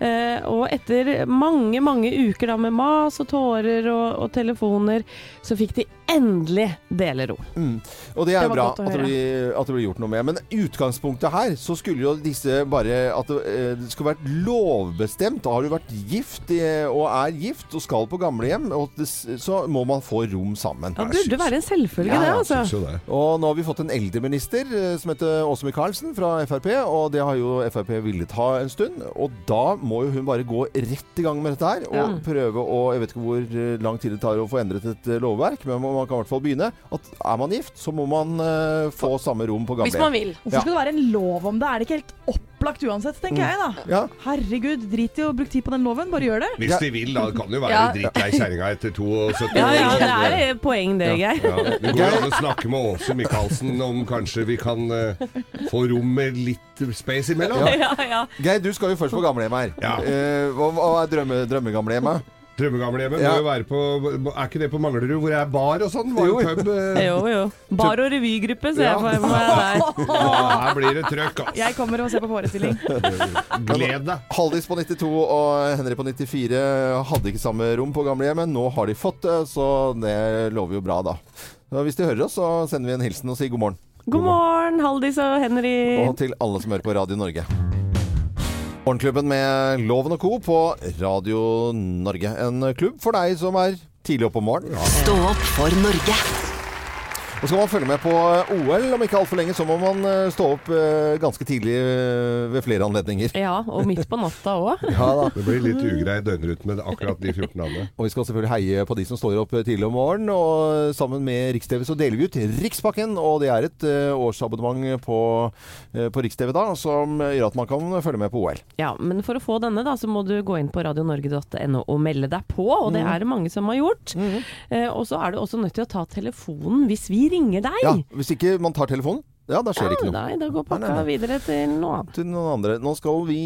[SPEAKER 1] Eh, og etter mange, mange uker da med mas og tårer og, og telefoner, så fikk de endelig dele ro.
[SPEAKER 2] Og det er
[SPEAKER 1] Det
[SPEAKER 2] jo
[SPEAKER 1] var
[SPEAKER 2] bra
[SPEAKER 1] godt å
[SPEAKER 2] at det,
[SPEAKER 1] høre.
[SPEAKER 2] blir, at det blir gjort noe med. Men i utgangspunktet her så skulle jo disse bare At det, eh, det skulle vært lovbestemt. Da har du vært gift eh, og er gift og skal på gamlehjem, og det, s- så må man få rom sammen.
[SPEAKER 1] Ja, det burde være en selvfølge, det, altså.
[SPEAKER 3] Syns jo det.
[SPEAKER 2] Og nå har vi fått en eldreminister eh, som heter Åse Michaelsen fra Frp, og det har jo Frp villet ha en stund. Og da må jo hun bare gå rett i gang med dette her, og prøve å Jeg vet ikke hvor eh, lang tid det tar å få endret et eh, lovverk, men man kan i hvert fall begynne. At er man gift, så må man eh, få samme rom på
[SPEAKER 4] Hvis man
[SPEAKER 2] gamlehjem.
[SPEAKER 4] vil.
[SPEAKER 5] Hvorfor
[SPEAKER 2] Ja.
[SPEAKER 5] skal det være en lov om det? Er det ikke helt opplagt uansett, tenker jeg da.
[SPEAKER 2] Mm. Ja.
[SPEAKER 5] Herregud, drit i å bruke tid på den loven, bare gjør det.
[SPEAKER 3] Hvis de vil, da kan det jo være
[SPEAKER 4] Ja.
[SPEAKER 3] drittlei kjerringa etter 72 år.
[SPEAKER 1] Ja, ja, det er eh, poeng det, Geir.
[SPEAKER 3] Ja, det går an å snakke med Åse Michaelsen om kanskje vi kan eh, få rom med litt space imellom.
[SPEAKER 1] Ja, ja.
[SPEAKER 2] Geir, du skal jo først på gamlehjem her.
[SPEAKER 3] Ja.
[SPEAKER 2] Eh, hva, hva er drømme, drømmegamlehjemmet?
[SPEAKER 3] Drømmegamlehjemmet
[SPEAKER 2] Ja.
[SPEAKER 3] må jo være på Er ikke det på Manglerud hvor det er bar og sånn? Var jo pub. eh.
[SPEAKER 1] Jo, jo. Bar- og revygruppe, ser
[SPEAKER 3] Ja.
[SPEAKER 1] jeg for meg der.
[SPEAKER 3] Ja, her blir det trøkk, altså.
[SPEAKER 5] Jeg kommer og ser på forestilling.
[SPEAKER 3] Gled deg.
[SPEAKER 2] Haldis på 92 og Henry på 94 hadde ikke samme rom på gamlehjemmet. Nå har de fått det, så det lover jo bra, da. Så hvis de hører oss, så sender vi en hilsen og sier god morgen.
[SPEAKER 1] God morgen, Haldis og Henry.
[SPEAKER 2] Og til alle som hører på Radio Norge. Morgenklubben med Loven og Co. på Radio Norge. En klubb for deg som er tidlig oppe om morgenen.
[SPEAKER 10] Stå opp for Norge.
[SPEAKER 2] Og skal man følge med på OL om ikke altfor lenge, så må man eh, stå opp eh, ganske tidlig eh, ved flere anledninger.
[SPEAKER 1] Ja, og midt på natta òg.
[SPEAKER 2] Ja da.
[SPEAKER 3] Det blir litt ugrei døgnrytme akkurat de 14 dagene.
[SPEAKER 2] Og vi skal selvfølgelig heie på de som står opp eh, tidlig om morgenen. Og eh, sammen med Rikstv så deler vi ut Rikspakken, og det er et eh, årsabonnement på, eh, på Rikstv da, som gjør at man kan følge med på OL.
[SPEAKER 1] Ja, men for å få denne, da, så må du gå inn på radionorge.no og melde deg på. Og det er det mange som har gjort. Eh, og så er du også nødt til å ta telefonen hvis vi ringer deg.
[SPEAKER 2] Ja, Hvis ikke man tar telefonen, ja, da skjer det ikke noe.
[SPEAKER 1] Nei, da går
[SPEAKER 2] Nei, nei,
[SPEAKER 1] pakka
[SPEAKER 2] nei.
[SPEAKER 1] videre til noe annet.
[SPEAKER 2] Til noen andre. Nå skal vi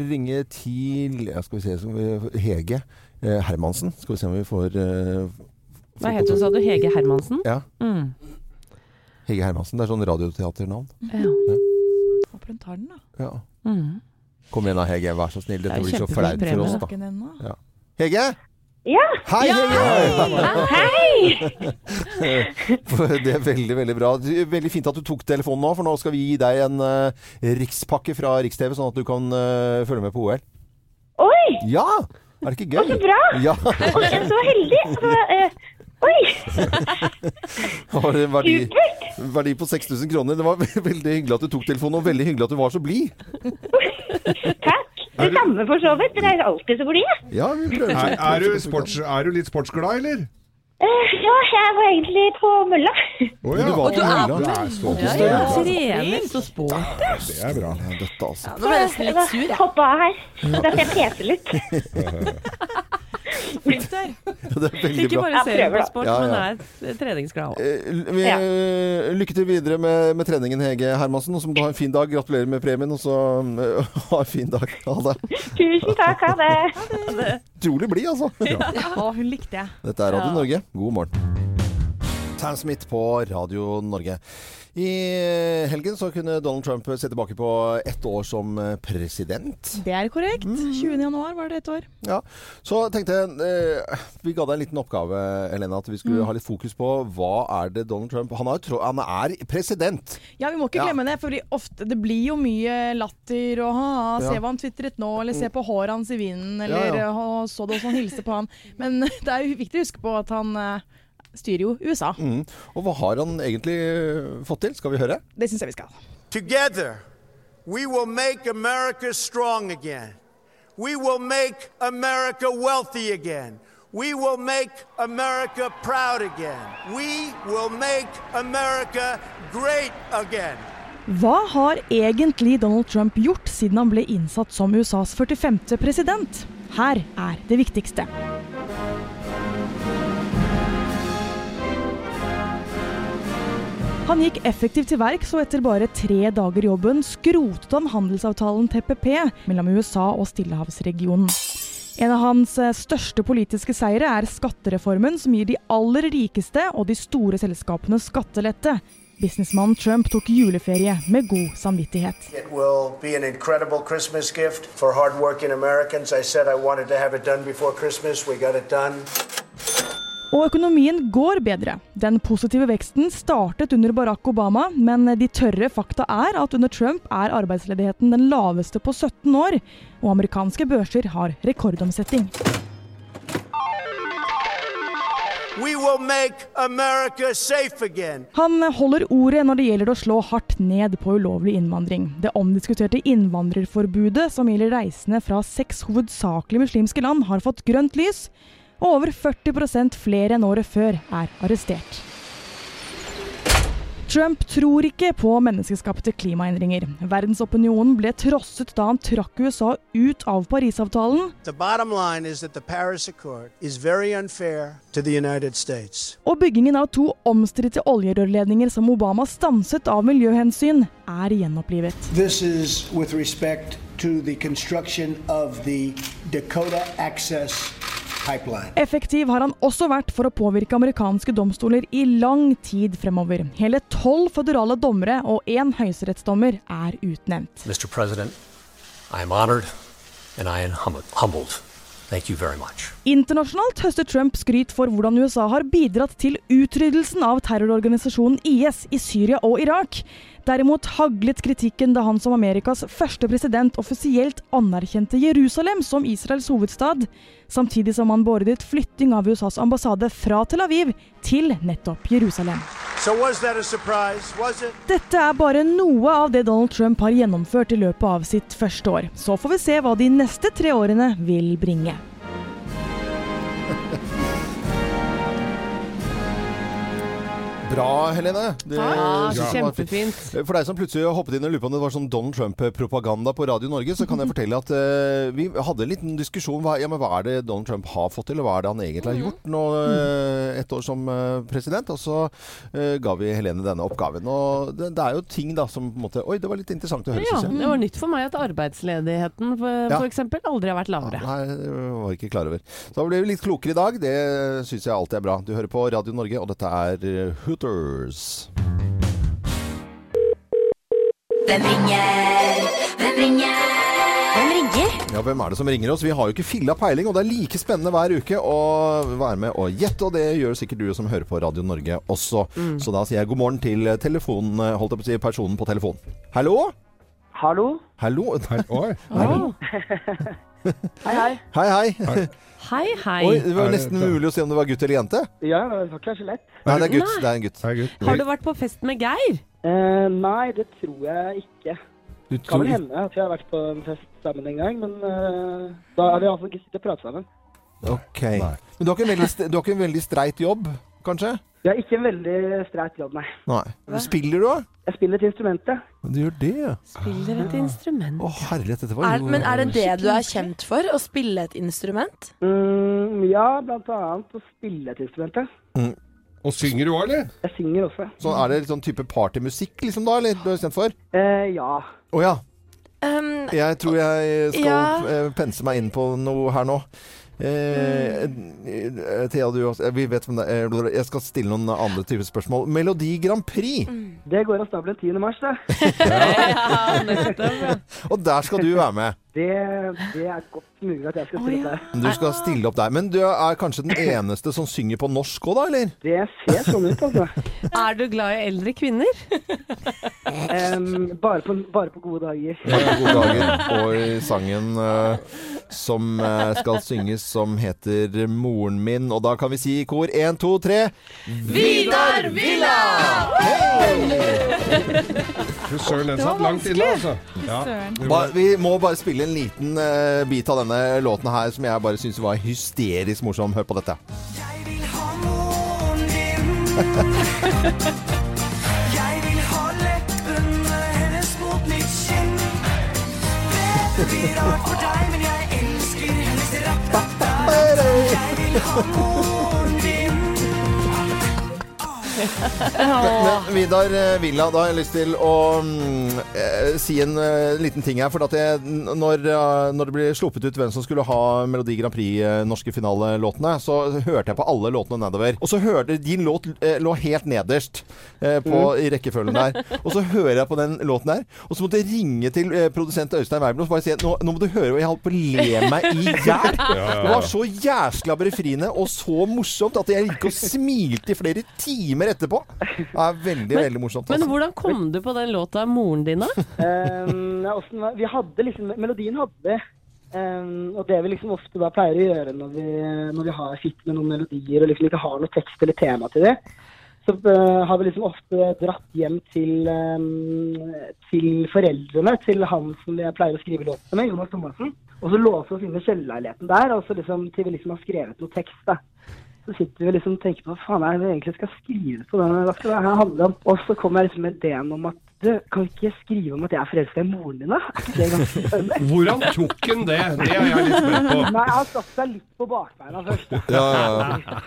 [SPEAKER 2] ringe til ja, skal vi se, skal vi, Hege eh, Hermansen. Skal vi se om vi får eh,
[SPEAKER 1] Hva heter hun, sa du? Hege Hermansen?
[SPEAKER 2] Ja.
[SPEAKER 1] Mm.
[SPEAKER 2] Hege Hermansen. Det er sånn radioteaternavn.
[SPEAKER 5] Håper hun tar den, da.
[SPEAKER 2] Ja.
[SPEAKER 1] Mm.
[SPEAKER 2] Kom igjen da, Hege. Vær så snill.
[SPEAKER 1] Det er
[SPEAKER 2] Dette
[SPEAKER 1] jo
[SPEAKER 2] blir så
[SPEAKER 1] kjempefin
[SPEAKER 2] flaut
[SPEAKER 1] premie.
[SPEAKER 2] for oss, da.
[SPEAKER 5] Får ikke den nå.
[SPEAKER 2] Hege? Hei, Hege! For Det er veldig, veldig bra. Du, Veldig fint at du tok telefonen nå, for nå skal vi gi deg en eh, rikspakke fra Rikstv, sånn at du kan eh, følge med på OL.
[SPEAKER 10] Oi!
[SPEAKER 2] Ja! Er det ikke gøy?
[SPEAKER 10] Så bra!
[SPEAKER 2] Ja,
[SPEAKER 10] Og jeg er så heldig! Så, eh, oi!
[SPEAKER 2] har en verdi,
[SPEAKER 10] Supert!
[SPEAKER 2] verdi på 6000 kroner. Det var veldig hyggelig at du tok telefonen, og veldig hyggelig at du var så blid.
[SPEAKER 10] Takk. Det samme for så vidt. Dere er alltid så blide.
[SPEAKER 2] Ja, vi prøver.
[SPEAKER 3] Er, er, du sports, er du litt sportsglad, eller?
[SPEAKER 10] Eh, ja, jeg var egentlig på mølla.
[SPEAKER 3] Å
[SPEAKER 2] Du var
[SPEAKER 3] ja.
[SPEAKER 2] på hylla.
[SPEAKER 3] Du er stolt.
[SPEAKER 1] Ja, ja. Trener så sport.
[SPEAKER 3] Det er bra.
[SPEAKER 2] Ja, Dette, altså.
[SPEAKER 4] Nå ble jeg nesten litt sur, jeg.
[SPEAKER 10] Hoppa av her. Det er derfor jeg peser litt.
[SPEAKER 5] Flink der.
[SPEAKER 2] Det er veldig
[SPEAKER 1] Ikke
[SPEAKER 2] bra.
[SPEAKER 1] bare
[SPEAKER 10] Jeg
[SPEAKER 1] ser
[SPEAKER 10] prøver,
[SPEAKER 1] på
[SPEAKER 10] da.
[SPEAKER 1] sport,
[SPEAKER 2] Ja, ja.
[SPEAKER 1] men er treningsglad òg.
[SPEAKER 2] Eh, Vi, Lykke til videre med, med treningen, Hege Hermansen. Og så må du ha en fin dag. Gratulerer med premien, og så eh, ha en fin dag. Ha det.
[SPEAKER 10] Tusen takk. Ha det.
[SPEAKER 2] Utrolig blid, altså.
[SPEAKER 5] Å, hun likte jeg.
[SPEAKER 2] Dette er Radio Norge. God morgen. Sam Smith på Radio Norge. I helgen så kunne Donald Trump se tilbake på ett år som eh, president.
[SPEAKER 5] Det er korrekt.
[SPEAKER 2] Mm.
[SPEAKER 5] 20. januar var det et år.
[SPEAKER 2] Ja, Så tenkte jeg eh, Vi ga deg en liten oppgave, Elena. At vi skulle ha litt fokus på hva er det Donald Trump Han er, jo tro- han er president.
[SPEAKER 5] Ja, vi må ikke
[SPEAKER 2] Ja.
[SPEAKER 5] glemme det, for vi ofte, det blir jo mye latter og ha, ha, se
[SPEAKER 2] Ja. Mm.
[SPEAKER 5] hva han tvitret nå, eller se på håret hans i vinden, eller
[SPEAKER 2] Ja, ja.
[SPEAKER 5] «Å, så det hvordan han hilste på han. Men det er jo viktig å huske på at han eh, styrer jo USA.
[SPEAKER 2] Mm. Og hva har han egentlig eh, fått til? Skal vi høre?
[SPEAKER 5] Det syns jeg vi skal.
[SPEAKER 11] Together, we will make America strong again. We will make America wealthy again. We will make America proud again. We will make America great again.
[SPEAKER 5] Hva har egentlig Donald Trump gjort siden han ble innsatt som USAs 45. president? Her er det viktigste. Han gikk effektivt til verks, og etter bare tre dager i jobben skrotet han handelsavtalen TPP mellom USA og Stillehavsregionen. En av hans eh, største politiske seire er skattereformen, som gir de aller rikeste og de store selskapene skattelette. Businessmannen Trump tok juleferie med god samvittighet.
[SPEAKER 11] It will be an incredible Christmas gift for hardworking Americans. I said I wanted to have it done before Christmas. We got it done.
[SPEAKER 5] Og økonomien går bedre. Den positive veksten startet under Barack Obama, men de tørre fakta er at under Trump er arbeidsledigheten den laveste på 17 år, og amerikanske børser har rekordomsetning.
[SPEAKER 11] We will make America safe again.
[SPEAKER 5] Han holder ordet når det gjelder å slå hardt ned på ulovlig innvandring. Det omdiskuterte innvandrerforbudet som gjelder reisende fra seks hovedsakelig muslimske land, har fått grønt lys, og over 40 flere enn året før er arrestert. Trump tror ikke på menneskeskapte klimaendringer. Verdensopinionen ble trosset da han trakk USA ut av Parisavtalen,
[SPEAKER 11] The bottom line is that the Paris Accord is very unfair to the United States.
[SPEAKER 5] Og byggingen av to omstridte oljerørledninger som Obama stanset av miljøhensyn, er gjenopplivet.
[SPEAKER 11] This is with respect to the construction of the Dakota Access Pipeline.
[SPEAKER 5] Effektiv har han også vært for å påvirke amerikanske domstoler i lang tid fremover. Hele tolv føderale dommere og én høyesterettsdommer er utnevnt.
[SPEAKER 12] Mr. President, I am honored and I am hum- humbled. Thank you very much.
[SPEAKER 5] Internasjonalt høster Trump skryt for hvordan USA har bidratt til utryddelsen av terrororganisasjonen IS i Syria og Irak. Derimot haglet kritikken da han som Amerikas første president offisielt anerkjente Jerusalem som Israels hovedstad, samtidig som han beordret flytting av USAs ambassade fra Tel Aviv til nettopp Jerusalem.
[SPEAKER 11] So was that a surprise? Was it?
[SPEAKER 5] Dette er bare noe av det Donald Trump har gjennomført i løpet av sitt første år. Så får vi se hva de neste tre årene vil bringe.
[SPEAKER 2] Bra, Helene. Det
[SPEAKER 1] Ja,
[SPEAKER 2] var
[SPEAKER 1] Ah, kjempefint.
[SPEAKER 2] fint. For deg som plutselig hoppet inn og lurer på om det var sånn Donald Trump-propaganda på Radio Norge, så kan jeg fortelle at eh, vi hadde en liten diskusjon. Hva, ja, men hva er det Donald Trump har fått til, og hva er det han egentlig
[SPEAKER 1] Mm.
[SPEAKER 2] har gjort nå eh, ett år som eh, president? Og så eh, ga vi Helene denne oppgaven. Og det, det er jo ting da som på en måte Oi, det var litt interessant å høre,
[SPEAKER 1] Ja,
[SPEAKER 2] synes jeg.
[SPEAKER 1] det var nytt for meg at arbeidsledigheten
[SPEAKER 2] mm. Ja.
[SPEAKER 1] f.eks. aldri har vært lavere.
[SPEAKER 2] Nei, det var jeg ikke klar over. Så da ble vi litt klokere i dag. Det syns jeg alltid er bra. Du hører på Radio Norge, og dette er eh, Hooters.
[SPEAKER 13] Hvem ringer? Hvem ringer? Hvem ringer?
[SPEAKER 2] Ja, Hvem er det som ringer oss? Vi har jo ikke filla peiling, og det er like spennende hver uke å være med og gjette. Og det gjør sikkert du som hører på Radio Norge også.
[SPEAKER 14] Mm.
[SPEAKER 2] Så da sier jeg god morgen til telefonen, holdt jeg på å si, personen på telefonen. Hallo?
[SPEAKER 14] Hallo?
[SPEAKER 2] Hallo?
[SPEAKER 14] Hei, hei.
[SPEAKER 2] Hei, hei.
[SPEAKER 1] Hei, hei.
[SPEAKER 2] Oi, det var nesten mulig å se om det var gutt eller jente.
[SPEAKER 14] Ja, det var ikke så lett.
[SPEAKER 2] Nei, det er gutt. Det er en gutt.
[SPEAKER 1] Har du vært på fest med Geir?
[SPEAKER 14] Eh, nei, det tror jeg ikke.
[SPEAKER 2] Du
[SPEAKER 14] Det
[SPEAKER 2] tror-
[SPEAKER 14] kan vel hende at vi har vært på en fest sammen en gang, men eh, da har vi altså ikke sittet og pratet sammen.
[SPEAKER 2] Ok. Men du har ikke en veldig, st- du har ikke en veldig streit jobb, kanskje?
[SPEAKER 14] Vi har ikke en veldig streit jobb, nei.
[SPEAKER 2] Nei. Spiller du, da?
[SPEAKER 14] Jeg spiller et instrument, jeg.
[SPEAKER 2] Du gjør det, ja.
[SPEAKER 1] Spiller et instrument.
[SPEAKER 2] Å, herlighet, dette var
[SPEAKER 4] Er,
[SPEAKER 2] jo
[SPEAKER 4] men er det det du er kjent for? Å spille et instrument?
[SPEAKER 14] Mm, ja, blant annet å spille et instrument, ja.
[SPEAKER 2] Og synger du òg, eller?
[SPEAKER 14] Jeg synger også.
[SPEAKER 2] Så er det litt sånn type partymusikk, liksom, da? Eller du er kjent for?
[SPEAKER 14] Eh, ja.
[SPEAKER 2] Å ja.
[SPEAKER 4] Um,
[SPEAKER 2] Jeg tror jeg skal
[SPEAKER 4] Ja.
[SPEAKER 2] eh, pense meg inn på noe her nå. Eh,
[SPEAKER 4] Mm.
[SPEAKER 2] eh, Thea, du også. eh, Vi vet hvem det er. Eh, Jeg skal stille noen andre typer spørsmål. Melodi Grand Prix.
[SPEAKER 4] Mm.
[SPEAKER 14] Det går av stabelen 10. mars, det.
[SPEAKER 2] Og der skal du være med.
[SPEAKER 14] Det, det er godt mulig at jeg skal stille opp der.
[SPEAKER 2] Du skal stille opp der. Men du er kanskje den eneste som synger på norsk òg, da, eller?
[SPEAKER 14] Det ser sånn ut, altså.
[SPEAKER 1] Er du glad i eldre kvinner?
[SPEAKER 14] Em, bare, på, bare på gode dager.
[SPEAKER 2] Mange gode dager. Og i sangen eh, som eh, skal synges, som heter 'Moren min'. Og da kan vi si i kor én, to, tre
[SPEAKER 6] Vidar Villa!
[SPEAKER 3] Fy søren, den
[SPEAKER 2] Det var
[SPEAKER 3] satt langt inne, altså.
[SPEAKER 2] vanskelig. Ba, vi må bare spille en liten eh, bit av denne låten her som jeg bare syns var hysterisk morsom. Hør på dette.
[SPEAKER 6] Jeg vil ha leppene hennes mot mitt kinn. Det blir rart for deg, men jeg elsker hennes rappata. Jeg vil ha moren din.
[SPEAKER 2] Men, men Vidar eh, Villa, da har jeg lyst til å mm, eh, si en eh, liten ting her. For at jeg, n- når, eh, når det ble sluppet ut hvem som skulle ha Melodi Grand Prix eh, norske finalelåtene, så hørte jeg på alle låtene nedover. Og så hørte Din låt eh, lå helt nederst eh, på,
[SPEAKER 14] Mm.
[SPEAKER 2] i rekkefølgen der. Og så hører jeg på den låten der, og så måtte jeg ringe til eh, produsent Øystein Weibel og bare si nå, nå må du høre hva jeg holdt på å le meg i hjel.
[SPEAKER 6] Ja, ja, ja.
[SPEAKER 2] Det var så jæskla befriende og så morsomt at jeg gikk og smilte i flere timer etterpå. Det er veldig, veldig morsomt.
[SPEAKER 1] Men
[SPEAKER 2] altså.
[SPEAKER 1] hvordan kom du på den låta av moren din, da?
[SPEAKER 14] Em, ja, hvordan Ehm, var- vi hadde liksom, melodien hadde vi. Em, og det vi liksom ofte da pleier å gjøre når vi, når vi har sitter med noen melodier og liksom ikke har noe tekst eller tema til det, så eh, har vi liksom ofte dratt hjem til, em, til foreldrene til han som jeg pleier å skrive låtene med, Jonas Thomassen. Og så låser vi oss inne i kjellerleiligheten der, og så liksom, til vi liksom har skrevet noe tekst. da. Så sitter vi liksom og tenker på hva faen er det vi egentlig skal skrive på den, hva skal det her handle om? Og så kommer jeg liksom med ideen om at du, kan vi ikke skrive om at jeg er forelska i moren din, da? Er ikke det ganske spennende?
[SPEAKER 3] Hvordan tok han det? Det er jeg litt spent på.
[SPEAKER 14] Nei, han satte seg litt på bakbeina først. da.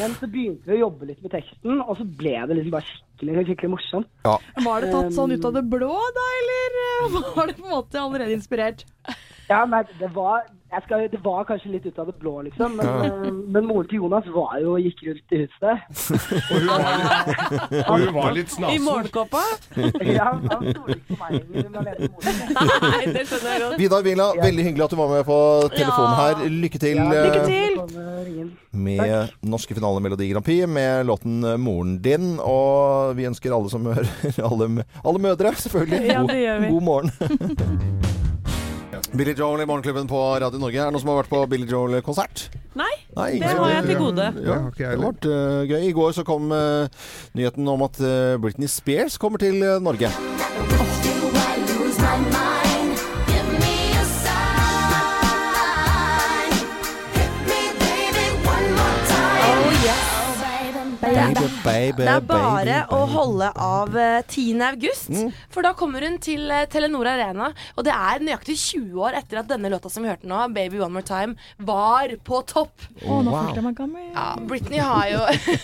[SPEAKER 14] Men så begynte vi å jobbe litt med teksten, og så ble det liksom bare skikkelig, skikkelig morsomt.
[SPEAKER 2] Ja.
[SPEAKER 5] Var det tatt sånn ut av det blå, da, eller eh, var det på en måte allerede inspirert?
[SPEAKER 14] Ja, nei, det var, jeg skal, det var kanskje litt ut av det blå, liksom. Men,
[SPEAKER 6] Ja.
[SPEAKER 14] eh, men moren til Jonas var jo gikk rundt i huset.
[SPEAKER 3] Og hun var litt snasen.
[SPEAKER 14] I
[SPEAKER 1] morgenkåpa?
[SPEAKER 14] ja, han stolte ikke på meg lenger. Hun var leder i moren.
[SPEAKER 1] Nei, det skjønner jeg godt.
[SPEAKER 2] Vidar Villa, veldig hyggelig at du var med på telefonen her. Lykke til, eh,
[SPEAKER 14] til!
[SPEAKER 2] med norske finale Melodi Grand Prix med låten eh, 'Moren din'. Og vi ønsker alle som hører Alle, m- alle mødre, selvfølgelig.
[SPEAKER 6] Ja, det gjør vi.
[SPEAKER 2] God morgen. Billy Joel i Morgenklubben på Radio Norge. Er det noen som har vært på Billy Joel-konsert?
[SPEAKER 1] Nei,
[SPEAKER 2] Nei,
[SPEAKER 1] det har jeg til gode.
[SPEAKER 2] Ja, det ble eh, gøy. I går så kom eh, nyheten om at eh, Britney Spears kommer til eh, Norge.
[SPEAKER 4] Det er,
[SPEAKER 2] Eh, baby, Mm.
[SPEAKER 4] det er bare å holde av eh, 10. august, for da kommer hun til eh, Telenor Arena. Og det er nøyaktig 20 år etter at denne låta som vi hørte nå, 'Baby One More Time', var på topp.
[SPEAKER 5] Å, nå følte jeg meg gammel.
[SPEAKER 4] Ja, Britney har jo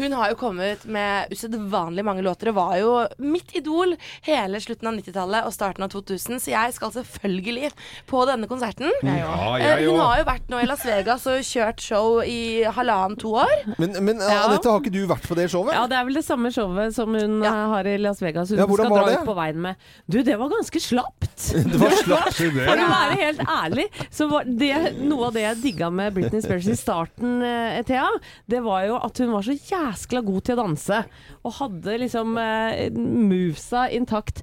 [SPEAKER 4] Hun har jo kommet med usedvanlig mange låter og var jo mitt idol hele slutten av 90-tallet og starten av 2000, så jeg skal selvfølgelig på denne konserten.
[SPEAKER 2] Jeg også. Mm. Ja,
[SPEAKER 4] Eh,
[SPEAKER 2] jeg
[SPEAKER 4] Hun
[SPEAKER 2] også.
[SPEAKER 4] har jo vært nå i Las Vegas og kjørt show i halvannen, to år.
[SPEAKER 2] Men, men
[SPEAKER 4] Ja.
[SPEAKER 2] ah, dette har ikke du vært på det showet?
[SPEAKER 1] Ja, det er vel det samme showet som hun eh, har i Las Vegas. Hun
[SPEAKER 2] Ja, hvordan
[SPEAKER 1] skal
[SPEAKER 2] var
[SPEAKER 1] dra
[SPEAKER 2] det?
[SPEAKER 1] ut på veien med. Du, det var ganske slapt.
[SPEAKER 2] Det var slapt, sier det.
[SPEAKER 1] For å være helt ærlig, så var det noe av det jeg digga med Britney Spears i starten, eh, Thea, det var jo at hun var så jæskla god til å danse. Og hadde liksom eh, movesa intakt.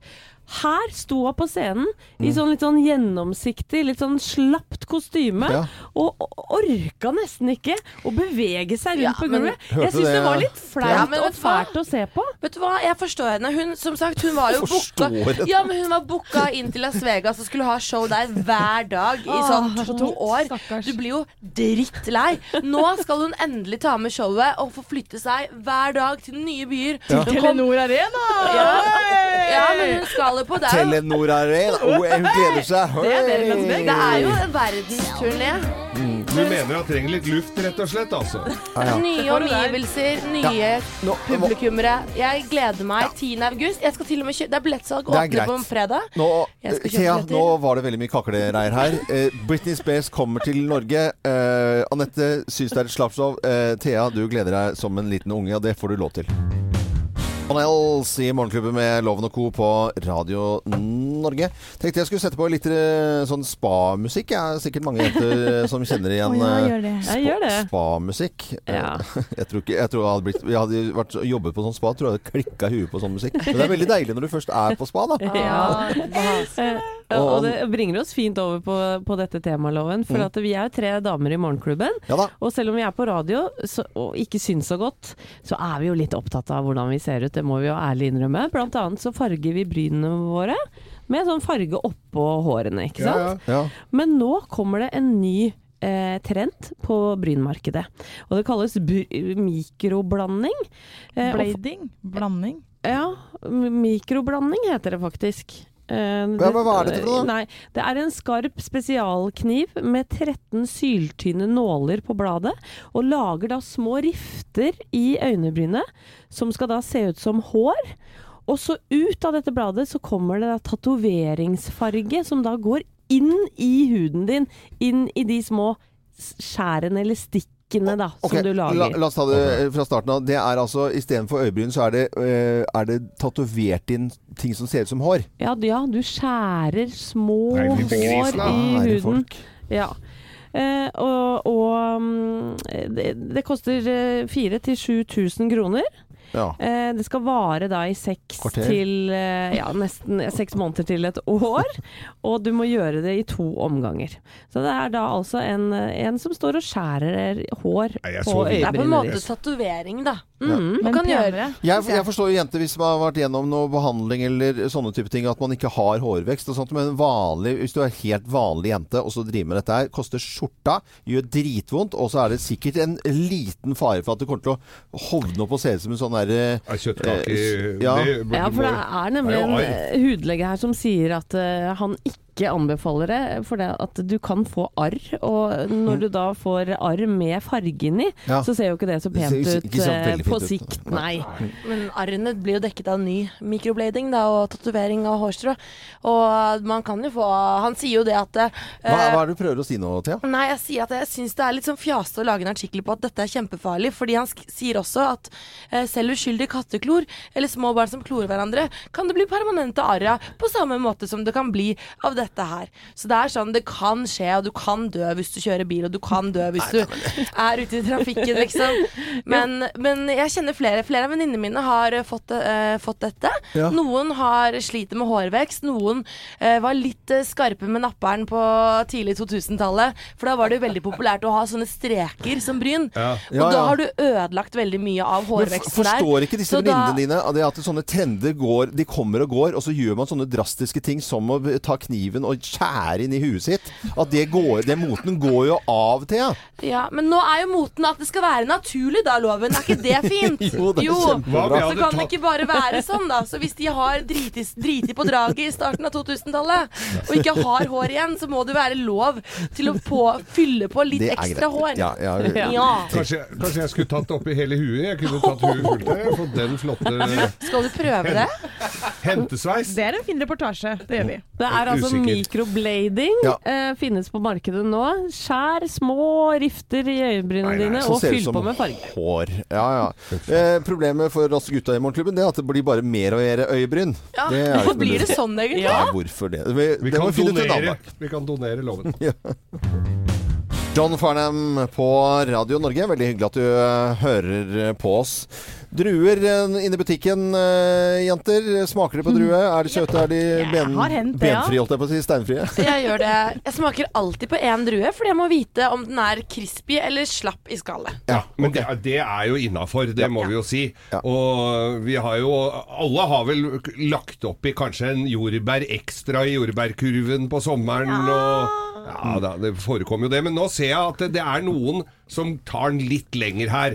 [SPEAKER 1] Her sto hun på scenen i sånn litt sånn gjennomsiktig, litt sånn slapt kostyme,
[SPEAKER 2] Ja.
[SPEAKER 1] og og orka nesten ikke å bevege seg rundt på
[SPEAKER 4] men-
[SPEAKER 1] gulvet.
[SPEAKER 2] Hørte
[SPEAKER 1] Jeg syns det
[SPEAKER 2] det-
[SPEAKER 1] var litt flaut
[SPEAKER 4] Ja, men vet
[SPEAKER 1] og
[SPEAKER 4] du hva?
[SPEAKER 1] fælt å se på.
[SPEAKER 4] Vet du hva, jeg forstår henne. Hun, som sagt, hun var jo booka,
[SPEAKER 1] Forstår henne?
[SPEAKER 4] ja, men hun var booka inn til Las Vegas og skulle ha show der hver dag i sånn
[SPEAKER 5] Åh,
[SPEAKER 4] to år. Du blir jo drittlei. Nå skal hun endelig ta med showet og få flytte seg hver dag til nye byer.
[SPEAKER 2] Ja.
[SPEAKER 4] Hun kom-
[SPEAKER 5] Telenor Arena!
[SPEAKER 4] Ja, ja men hun skal jo på det. er jo-
[SPEAKER 2] Telenor Arena. Oh, hun gleder seg. Hei!
[SPEAKER 4] Det er jo en verdensturné.
[SPEAKER 2] Mm.
[SPEAKER 3] Du mener jeg trenger litt luft, rett og slett, altså?
[SPEAKER 4] Nye omgivelser, nye
[SPEAKER 2] Nå,
[SPEAKER 4] publikummere. Jeg gleder meg. 10. august. Jeg skal til og med kjø det er billettsalg
[SPEAKER 2] Det er
[SPEAKER 4] åpner på
[SPEAKER 2] greit.
[SPEAKER 4] fredag.
[SPEAKER 2] Nå,
[SPEAKER 4] Jeg skal kjøpe
[SPEAKER 2] Thea,
[SPEAKER 4] billetter.
[SPEAKER 2] nå var det veldig mye kaklereir her. Eh, Britney Spears kommer til Norge. Eh, Anette syns det er et slappshow. Eh, Thea, du gleder deg som en liten unge, og det får du lov til. Monels i Morgenklubben med Loven og Co. på Radio Norge. Tenkte jeg skulle sette på litt eh, sånn spamusikk. Jeg er sikkert mange jenter eh, som kjenner igjen
[SPEAKER 1] Å ja,
[SPEAKER 2] eh,
[SPEAKER 1] gjør det.
[SPEAKER 2] spa-
[SPEAKER 1] Ja, gjør det.
[SPEAKER 2] spamusikk. Eh, Jeg tror ikke jeg tror jeg hadde blitt Jeg hadde vært, jobbet på sånn spa, tror jeg hadde klikka i huet på sånn musikk. Men det er veldig deilig når du først er på spa, da.
[SPEAKER 1] Ja. Eh,
[SPEAKER 2] Og-
[SPEAKER 1] Og det bringer oss fint over på, på dette temaloven, for
[SPEAKER 2] Mm.
[SPEAKER 1] at vi er jo tre damer i Morgenklubben. Og selv om vi er på radio så, og ikke syns så godt, så er vi jo litt opptatt av hvordan vi ser ut. Det må vi jo ærlig innrømme. Blant annet så farger vi brynene våre med sånn farge oppå hårene, ikke
[SPEAKER 6] Ja,
[SPEAKER 1] sant?
[SPEAKER 2] Ja.
[SPEAKER 1] Men nå kommer det en ny eh, trend på brynmarkedet. Og det kalles br mikroblanding. Eh, og-
[SPEAKER 5] Blading? Blanding?
[SPEAKER 1] ja, m- mikroblanding heter det faktisk. Eh,
[SPEAKER 5] men hva er dette for noe?
[SPEAKER 1] Nei, det er en skarp spesialkniv med 13 syltynne nåler på bladet, og lager da små rifter i øynebrynet, som skal da se ut som hår. Og så ut av dette bladet så kommer det da tatoveringsfarge, som da går inn i huden din, inn i de små s- skjærene eller stikkene da,
[SPEAKER 2] Ok,
[SPEAKER 1] som du lager.
[SPEAKER 2] La, la oss ta det eh, fra starten av. Det er altså Istedenfor øyebryn, så er det, eh, er det tatovert inn ting som ser ut som hår.
[SPEAKER 1] Ja, d- ja du skjærer små
[SPEAKER 2] Nei,
[SPEAKER 1] hår
[SPEAKER 2] fy grisen, da.
[SPEAKER 1] i
[SPEAKER 2] Ære
[SPEAKER 1] huden. Ja. Eh, og og mm, det, det koster eh, 4000-7000 kroner.
[SPEAKER 2] Ja.
[SPEAKER 1] Eh, det skal vare da i seks
[SPEAKER 2] Kvarter.
[SPEAKER 1] til eh, ja, nesten seks måneder til et år. Og du må gjøre det i to omganger. Så det er da altså en, en som står og skjærer hår
[SPEAKER 2] jeg
[SPEAKER 1] på
[SPEAKER 2] så
[SPEAKER 1] øyebrynene.
[SPEAKER 2] videre.
[SPEAKER 4] Det er på en måte
[SPEAKER 2] Brynene.
[SPEAKER 4] tatovering, da.
[SPEAKER 2] Mm.
[SPEAKER 4] Man kan gjøre det.
[SPEAKER 2] Jeg, jeg forstår jo jenter hvis man har vært gjennom noe behandling eller sånne type ting, at man ikke har hårvekst og sånt, men vanlig, hvis du er helt vanlig jente og så driver med dette her, koster skjorta, gjør dritvondt, og så er det sikkert en liten fare for at du kommer til å hovne opp og se ut som en sånn derre
[SPEAKER 3] kjøttkake,
[SPEAKER 2] Eh, Ja.
[SPEAKER 3] det burde
[SPEAKER 1] Ja, for det er nemlig
[SPEAKER 2] Det er
[SPEAKER 1] en
[SPEAKER 2] jo
[SPEAKER 1] eh, hudlege her som sier at eh, han ikke anbefaler det, for det at du kan få arr, og når du da får arr med farge inni,
[SPEAKER 4] Ja.
[SPEAKER 1] så ser jo ikke det så
[SPEAKER 4] Det ser
[SPEAKER 1] pent
[SPEAKER 4] jo
[SPEAKER 1] ut
[SPEAKER 4] ikke så
[SPEAKER 1] eh,
[SPEAKER 4] veldig
[SPEAKER 1] på
[SPEAKER 4] fint ut.
[SPEAKER 1] sikt, nei.
[SPEAKER 4] Men arrene blir jo dekket av ny mikroblading da, og tatovering av hårstrå. Og man kan jo få Han sier jo det at
[SPEAKER 2] Hva,
[SPEAKER 4] eh,
[SPEAKER 2] hva er det du prøver å si nå, Thea?
[SPEAKER 4] Nei, jeg sier at jeg syns det er litt sånn fjaste å lage en artikkel på at dette er kjempefarlig, fordi han sk sier også at eh, selv uskyldige katteklor, eller små barn som klorer hverandre, kan det bli permanente arr av, på samme måte som det kan bli av dette her. Så det er sånn, det kan skje, og du kan dø hvis du kjører bil, og du kan dø hvis du er ute i trafikken, liksom. Men, men jeg kjenner flere. Flere av venninnene mine har eh, fått, eh, fått dette.
[SPEAKER 6] Ja.
[SPEAKER 4] Noen har sliter med hårvekst, noen eh, var litt eh, skarpe med napperen på tidlig 2000-tallet. For da var det jo veldig populært å ha sånne streker som bryn.
[SPEAKER 2] Ja.
[SPEAKER 4] Og
[SPEAKER 2] Ja,
[SPEAKER 4] da
[SPEAKER 2] ja.
[SPEAKER 4] har du ødelagt veldig mye av
[SPEAKER 2] Men
[SPEAKER 4] hårveksten
[SPEAKER 2] for- Forstår
[SPEAKER 4] der.
[SPEAKER 2] ikke disse
[SPEAKER 4] Så da-
[SPEAKER 2] venninnene dine av det at sånne trender går, de kommer og går, og så gjør man sånne drastiske ting som å ta kniven og skjære inn i huet sitt? At det går, den moten går jo av, Thea.
[SPEAKER 4] Ja, Men nå er jo moten at det skal være naturlig, da, loven. Er ikke det fint?
[SPEAKER 2] Jo, det er kjempebra. Hva om
[SPEAKER 4] Så
[SPEAKER 2] jeg hadde
[SPEAKER 4] kan det
[SPEAKER 2] tatt-
[SPEAKER 4] ikke bare være sånn, da. Så hvis de har driti, driti på draget i starten av 2000-tallet, og ikke har hår igjen, så må det være lov til å på, fylle på litt
[SPEAKER 3] Det er
[SPEAKER 4] ekstra
[SPEAKER 3] greit.
[SPEAKER 4] hår.
[SPEAKER 3] Ja, ja.
[SPEAKER 4] Ja.
[SPEAKER 3] Kanskje, kanskje jeg skulle tatt det opp i hele huet? Jeg kunne tatt huet fullt der og fått den flotte
[SPEAKER 4] Skal du prøve det?
[SPEAKER 3] hentesveis.
[SPEAKER 5] Det er en fin reportasje. Det gjør vi.
[SPEAKER 1] Det er altså
[SPEAKER 3] Usikker sikkert.
[SPEAKER 1] Mikroblading
[SPEAKER 3] Ja.
[SPEAKER 1] eh, finnes på markedet nå. Skjær små rifter i øyebrynene dine
[SPEAKER 2] Som
[SPEAKER 1] og
[SPEAKER 2] ser ut
[SPEAKER 1] fyll
[SPEAKER 2] som
[SPEAKER 1] på med farge.
[SPEAKER 2] Hår. Ja, ja. Eh, problemet for oss gutta i morgenklubben Det er at det blir bare mer og mer øyebryn.
[SPEAKER 4] Ja,
[SPEAKER 2] Det er
[SPEAKER 4] hvorfor
[SPEAKER 2] ikke
[SPEAKER 4] blir det
[SPEAKER 2] mulig.
[SPEAKER 4] sånn egentlig?
[SPEAKER 2] Nei, hvorfor det? Vi,
[SPEAKER 3] Vi
[SPEAKER 2] det må vi
[SPEAKER 3] kan,
[SPEAKER 2] finne ut en annen
[SPEAKER 3] donere,
[SPEAKER 2] dag.
[SPEAKER 3] vi kan donere loven.
[SPEAKER 2] Ja. John Farnham på Radio Norge, veldig hyggelig at du eh, hører eh, på oss. Druer eh, inne i butikken, eh, jenter. Smaker de på drue? Er de søte? Er de ben,
[SPEAKER 4] har hendt det, ja.
[SPEAKER 2] benfrie, holdt jeg på å si? Steinfrie?
[SPEAKER 4] Jeg gjør det. Jeg smaker alltid på én drue, fordi jeg må vite om den er crispy eller slapp i skallet.
[SPEAKER 3] Ja, men det, er- det er jo innafor, det må vi jo si. Og vi har jo Alle har vel lagt opp i kanskje en jordbær ekstra i jordbærkurven på sommeren og Ja da, det forekommer jo det. Men nå ser jeg at det, det er noen som tar den litt lenger her.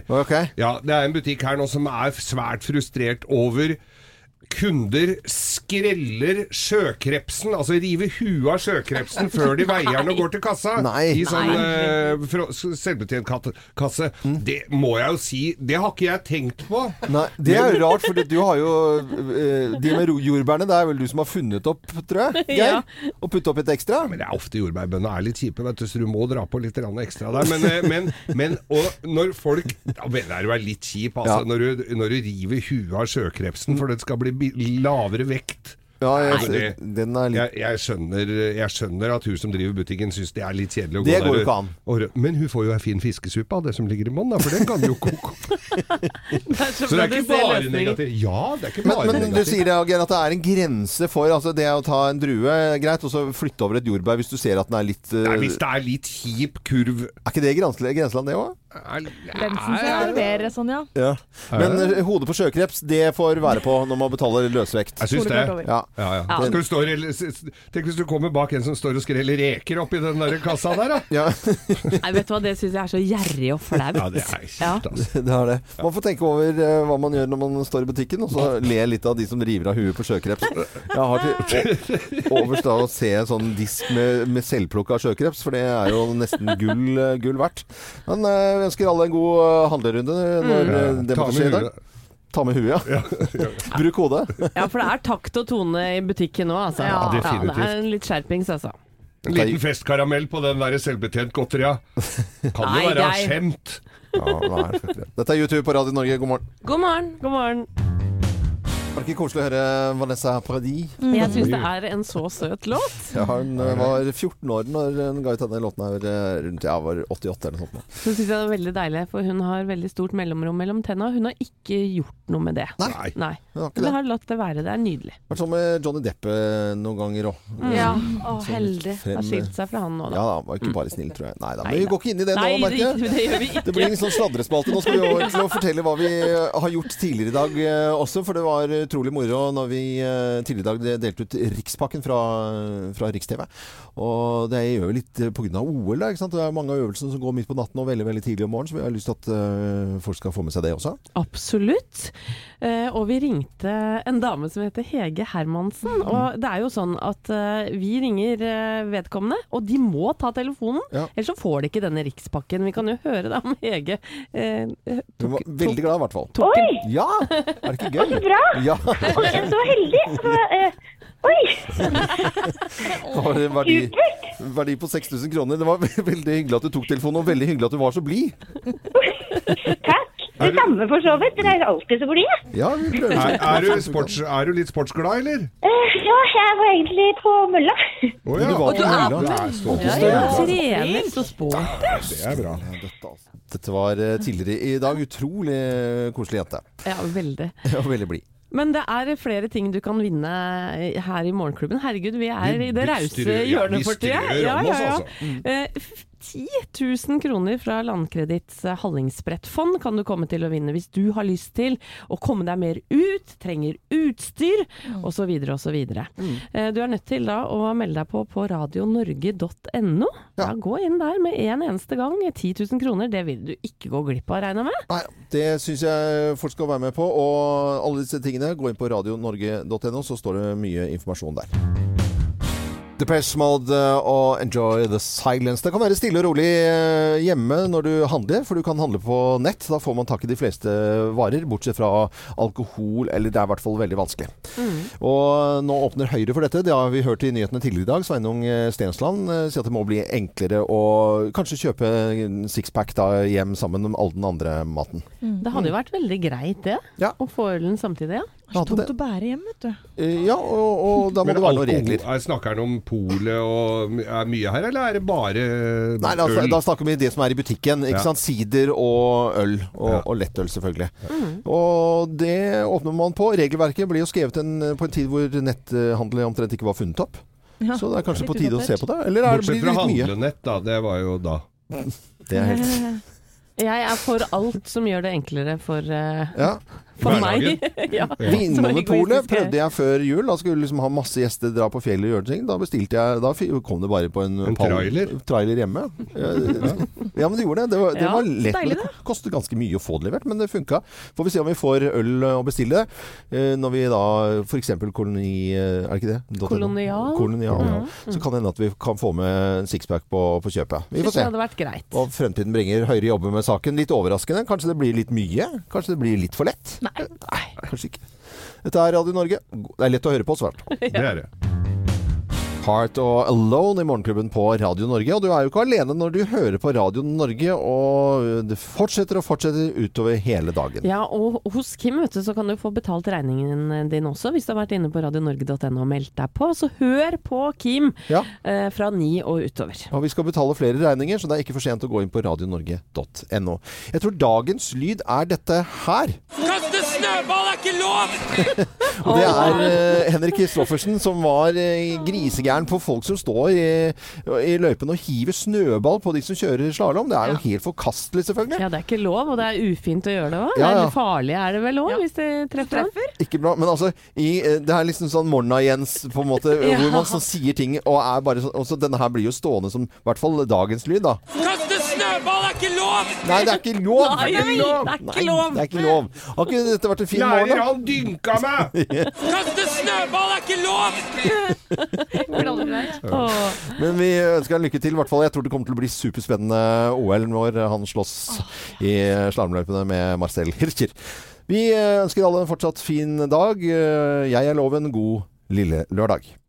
[SPEAKER 3] Ja, Det er en butikk her nå som er svært frustrert over Kunder skreller sjøkrepsen, altså river huet av sjøkrepsen før de veier den og går til kassa. I sånn
[SPEAKER 2] Nei. Mm.
[SPEAKER 3] eh, fra- selvbetjent kat- kasse. Det må jeg jo si, det har ikke jeg tenkt på.
[SPEAKER 2] Nei, det er jo rart, for du har jo eh, De med ro- jordbærene, det er vel du som har funnet opp, tror jeg? Geir?
[SPEAKER 3] Ja.
[SPEAKER 2] Og putte opp litt ekstra?
[SPEAKER 3] Men det er ofte jordbærbøndene er litt kjipe, vet du, så du må dra på litt grann ekstra der. Men, eh, men, men og når folk Da mener jeg du er litt kjip, altså.
[SPEAKER 2] Ja.
[SPEAKER 3] Når, du, når du river huet av sjøkrepsen for det skal bli bi- lavere vekt.
[SPEAKER 2] Ja, jeg-
[SPEAKER 3] Nei, det- jeg, jeg, skjønner, jeg skjønner at hun som driver butikken syns det er litt kjedelig å
[SPEAKER 2] Det
[SPEAKER 3] gå
[SPEAKER 2] går
[SPEAKER 3] der.
[SPEAKER 2] jo ikke an.
[SPEAKER 3] og rø- Men hun får jo ei en fin fiskesuppe av det som ligger i bånn, da, for den kan du jo koke. så det er ikke bare negativt. Ja, det er ikke
[SPEAKER 2] Men,
[SPEAKER 3] bare
[SPEAKER 2] men du
[SPEAKER 3] negativt.
[SPEAKER 2] sier det, Geir, at det er en grense for altså det å ta en drue, eh, greit, og så flytte over et jordbær hvis du ser at den er litt eh,
[SPEAKER 3] Nei, hvis det er litt kjip kurv Er
[SPEAKER 2] ikke det grensle- grenseland, det òg?
[SPEAKER 5] Bensen skal servere sånn, ja.
[SPEAKER 2] Ja. Men
[SPEAKER 3] Er
[SPEAKER 2] eh, hodet på sjøkreps, det får være på når man betaler løsvekt.
[SPEAKER 3] Jeg syns det.
[SPEAKER 2] Ja.
[SPEAKER 3] Ja, ja.
[SPEAKER 2] Den-
[SPEAKER 3] Skal du stå, eller- s- s- tenk hvis du kommer bak en som står og skreller reker oppi den der kassa der, da.
[SPEAKER 1] Nei, vet du hva, det syns jeg er så gjerrig og flaut.
[SPEAKER 3] Ja, det er kjipt,
[SPEAKER 1] Ja.
[SPEAKER 2] Det er det. Man får tenke over eh, hva man gjør når man står i butikken, og så le litt av de som river av huet på sjøkreps. Jeg har til o- overs da å se en sånn disk med, med selvplukka sjøkreps, for det er jo nesten gull, eh, gull verdt. Men eh, vi ønsker alle en god eh, handlerunde når
[SPEAKER 3] Mm. Ja,
[SPEAKER 2] eh, det
[SPEAKER 3] ta
[SPEAKER 2] måtte
[SPEAKER 3] med
[SPEAKER 2] skje i dag.
[SPEAKER 3] huet.
[SPEAKER 2] Ta med huet, ja. Bruk hodet.
[SPEAKER 1] Ja, for det er takt og tone i butikken nå, altså.
[SPEAKER 3] Ja,
[SPEAKER 1] det er
[SPEAKER 3] definitivt.
[SPEAKER 1] en litt skjerpings, altså.
[SPEAKER 3] En liten festkaramell på den der selvbetjent godteria. Kan
[SPEAKER 1] Nei,
[SPEAKER 3] jo være
[SPEAKER 1] Geir.
[SPEAKER 3] skjemt.
[SPEAKER 2] Ja, nei, fuck det. Dette er YouTube på Radio Norge, god morgen.
[SPEAKER 1] God morgen. God morgen.
[SPEAKER 2] Var det ikke koselig å høre Vanessa Paradis?
[SPEAKER 1] Jeg syns det er en så søt låt.
[SPEAKER 2] Ja, hun eh, var 14 år når eh, hun ga ut denne låten her, eh, rundt jeg var 88 eller noe sånt. nå.
[SPEAKER 1] Så syns jeg det er veldig deilig, for hun har veldig stort mellomrom mellom tenna. Hun har ikke gjort noe med det.
[SPEAKER 2] Nei.
[SPEAKER 1] Nei.
[SPEAKER 2] Hun har ikke
[SPEAKER 1] Hun
[SPEAKER 2] det.
[SPEAKER 1] har latt det være. Det er nydelig.
[SPEAKER 2] Vært sånn med Johnny Depp eh, noen ganger òg.
[SPEAKER 1] Ja, å, heldig. Har skilt seg fra han nå, da.
[SPEAKER 2] Ja da, var ikke bare snill, tror jeg. Nei da, men
[SPEAKER 1] Nei
[SPEAKER 2] vi
[SPEAKER 1] da.
[SPEAKER 2] går ikke inn i det
[SPEAKER 1] Nei,
[SPEAKER 2] nå, merker
[SPEAKER 1] det- det gjør vi ikke.
[SPEAKER 2] Det blir en sånn sladrespalte. Nå skal vi over til å fortelle hva vi eh, har gjort tidligere i dag eh, også, for det var utrolig moro når vi eh, tidligere i dag delte ut Rikspakken fra, fra Riks-TV. Og det gjør vi litt eh, pga. OL, da. Ikke sant? Det er mange av øvelsene som går midt på natten og veldig veldig tidlig om morgenen, så vi har lyst til at eh, folk skal få med seg det også.
[SPEAKER 1] Absolutt. Eh, og vi ringte en dame som heter Hege Hermansen.
[SPEAKER 2] Mm.
[SPEAKER 1] Og det er jo sånn at eh, vi ringer eh, vedkommende, og de må ta telefonen. Ellers så får de ikke denne rikspakken. Vi kan jo høre da om Hege eh,
[SPEAKER 2] Hun var veldig glad, i hvert fall.
[SPEAKER 1] tok en
[SPEAKER 2] Ja! Er det ikke gøy?
[SPEAKER 1] Å, så bra!
[SPEAKER 2] Ja.
[SPEAKER 10] Og jeg er så heldig! Så, eh, oi!
[SPEAKER 2] var det en verdi, verdi på 6000 kroner. Det var ve- veldig hyggelig at du tok telefonen, og veldig hyggelig at du var så blid.
[SPEAKER 10] Det samme for så vidt. Dere er alltid så blide.
[SPEAKER 2] Ja, vi prøver.
[SPEAKER 3] Er, er, du sports, er du litt sportsglad, eller?
[SPEAKER 10] Eh, ja, jeg var egentlig på mølla.
[SPEAKER 3] Å ja.
[SPEAKER 2] var på mølla.
[SPEAKER 3] Du er stolt. altså.
[SPEAKER 2] Ja, ja.
[SPEAKER 1] trener så sporty.
[SPEAKER 3] Det er bra.
[SPEAKER 2] Dette var eh, tidligere i dag. Utrolig eh, koselig jente.
[SPEAKER 1] Ja, veldig.
[SPEAKER 2] Og veldig blid.
[SPEAKER 1] Men det er flere ting du kan vinne her i Morgenklubben. Herregud, vi er
[SPEAKER 2] Vi-
[SPEAKER 1] i det
[SPEAKER 2] vi
[SPEAKER 1] rause
[SPEAKER 2] strør- ja, vi
[SPEAKER 1] hjørnet for tida.
[SPEAKER 2] strør om oss, altså.
[SPEAKER 1] Eh, f- 10 000 kroner fra Landkreditts eh, Hallingsbrettfond kan du komme til å vinne hvis du har lyst til å komme deg mer ut, trenger utstyr osv. osv. Eh, du er nødt til da å melde deg på på radionorge.no. Ja. gå inn der med en eneste gang. 10 000 kroner, det vil du ikke gå glipp av, regner jeg med.
[SPEAKER 2] Det syns jeg folk skal være med på. Og alle disse tingene, gå inn på radionorge.no, så står det mye informasjon der. Depeche Mode eh, og Enjoy the Silence. Det kan være stille og rolig eh, hjemme når du handler, for du kan handle på nett. Da får man tak i de fleste varer, bortsett fra alkohol, eller det er i hvert fall veldig vanskelig. Og eh, nå åpner Høyre for dette. Det har vi hørt i nyhetene tidligere i dag. Sveinung eh, Stensland eh, sier at det må bli enklere å kanskje kjøpe en sixpack da hjem sammen med all den andre maten.
[SPEAKER 1] Det hadde jo vært veldig greit det, å få ølen samtidig. Ja.
[SPEAKER 2] Det er så tungt
[SPEAKER 1] å bære hjem, vet du.
[SPEAKER 2] Ja, og, og da må
[SPEAKER 3] Men
[SPEAKER 2] det være noen
[SPEAKER 3] alkohol-
[SPEAKER 2] regler.
[SPEAKER 3] er- Snakker han om polet og my- er mye her, eller er det bare
[SPEAKER 2] Nei, altså, da,
[SPEAKER 3] øl?
[SPEAKER 2] da snakker vi det som er i butikken. Ikke
[SPEAKER 3] Ja.
[SPEAKER 2] sant? Sider og øl. Og, og lettøl, selvfølgelig. Og det åpner man på. Regelverket ble jo skrevet en, på en tid hvor netthandel omtrent ikke var funnet opp. så det er kanskje på tide å se på det. Eller er det
[SPEAKER 3] Bortsett
[SPEAKER 2] blir det
[SPEAKER 3] fra
[SPEAKER 2] litt mye?
[SPEAKER 3] handlenett, da. Det var jo da.
[SPEAKER 2] Det er helt
[SPEAKER 1] Jeg er for alt som gjør det enklere for, eh, for meg.
[SPEAKER 2] Hverdagen.
[SPEAKER 1] ja, så
[SPEAKER 2] Vinmonopolet
[SPEAKER 1] egoistisk jeg er.
[SPEAKER 2] prøvde jeg før jul. Da skulle vi liksom ha masse gjester, dra på fjellet og gjøre ting. Da bestilte jeg Da fi- kom det bare på en,
[SPEAKER 3] En
[SPEAKER 2] pall-
[SPEAKER 3] trailer?
[SPEAKER 2] trailer hjemme. Ja, ja, men det gjorde det. Det var, det
[SPEAKER 3] Ja,
[SPEAKER 2] var lett.
[SPEAKER 3] deilig
[SPEAKER 2] men det ko- kostet ganske mye å få det levert, men det funka. Får vi se om vi får øl å bestille eh, når vi da f.eks. koloni... eh, Er det ikke det? .no?
[SPEAKER 1] Kolonial.
[SPEAKER 2] Kolonial, ja.
[SPEAKER 1] Mhm.
[SPEAKER 2] Så kan det hende at vi kan få med en sixpack på, på kjøpet. Vi
[SPEAKER 1] Synes
[SPEAKER 2] får se.
[SPEAKER 1] Det hadde vært greit.
[SPEAKER 2] Og fremtiden bringer Høyre jobber med saken. Litt overraskende. Kanskje det blir litt mye? Kanskje det blir litt for lett? Nei. kanskje ikke. Dette er Radio Norge. Det er lett å høre på, svært.
[SPEAKER 3] Det er det.
[SPEAKER 2] Heart og Alone i Morgenklubben på Radio Norge. Og du er jo ikke alene når du hører på Radio Norge, og det fortsetter og fortsetter utover hele dagen.
[SPEAKER 1] Ja, og hos Kim vet du, så kan du få betalt regningen din også, hvis du har vært inne på radionorge.no og meldt deg på. Så hør på Kim eh, fra ni og utover.
[SPEAKER 2] Og vi skal betale flere regninger, så det er ikke for sent å gå inn på radionorge.no. Jeg tror dagens lyd er dette her.
[SPEAKER 7] Kaste snøball er ikke lov!
[SPEAKER 2] Og det er eh, Henrik Kristoffersen som var eh, grisegæren på folk som står i, i løypen og hiver snøball på de som kjører slalåm. Det er jo helt forkastelig, selvfølgelig.
[SPEAKER 1] Ja, det er ikke lov, og det er ufint å gjøre det òg.
[SPEAKER 2] Ja, ja.
[SPEAKER 1] Farlig er det vel òg, hvis det treffer. treffer.
[SPEAKER 2] Ikke bra, men altså i, eh, Det er liksom sånn Morna-Jens, på en måte,
[SPEAKER 1] Ja.
[SPEAKER 2] hvor man sånn sier ting og er bare sånn Også denne her blir jo stående som i hvert fall dagens lyd, da.
[SPEAKER 7] Kaste snøball er ikke lov!
[SPEAKER 2] Nei, det er ikke lov!
[SPEAKER 7] Nei, det er ikke lov!
[SPEAKER 2] Nei, det er ikke lov. Har ikke dette vært en fin morgen?
[SPEAKER 7] Lærer, han dynka
[SPEAKER 2] meg!
[SPEAKER 7] Kaste snøball er ikke lov!
[SPEAKER 2] Men vi ønsker han lykke til, i hvert fall. Jeg tror det kommer til å bli superspennende OL når han slåss i slalåmløypene med Marcel Hirscher. Vi ønsker alle en fortsatt fin dag. Jeg er Loven. God lille lørdag.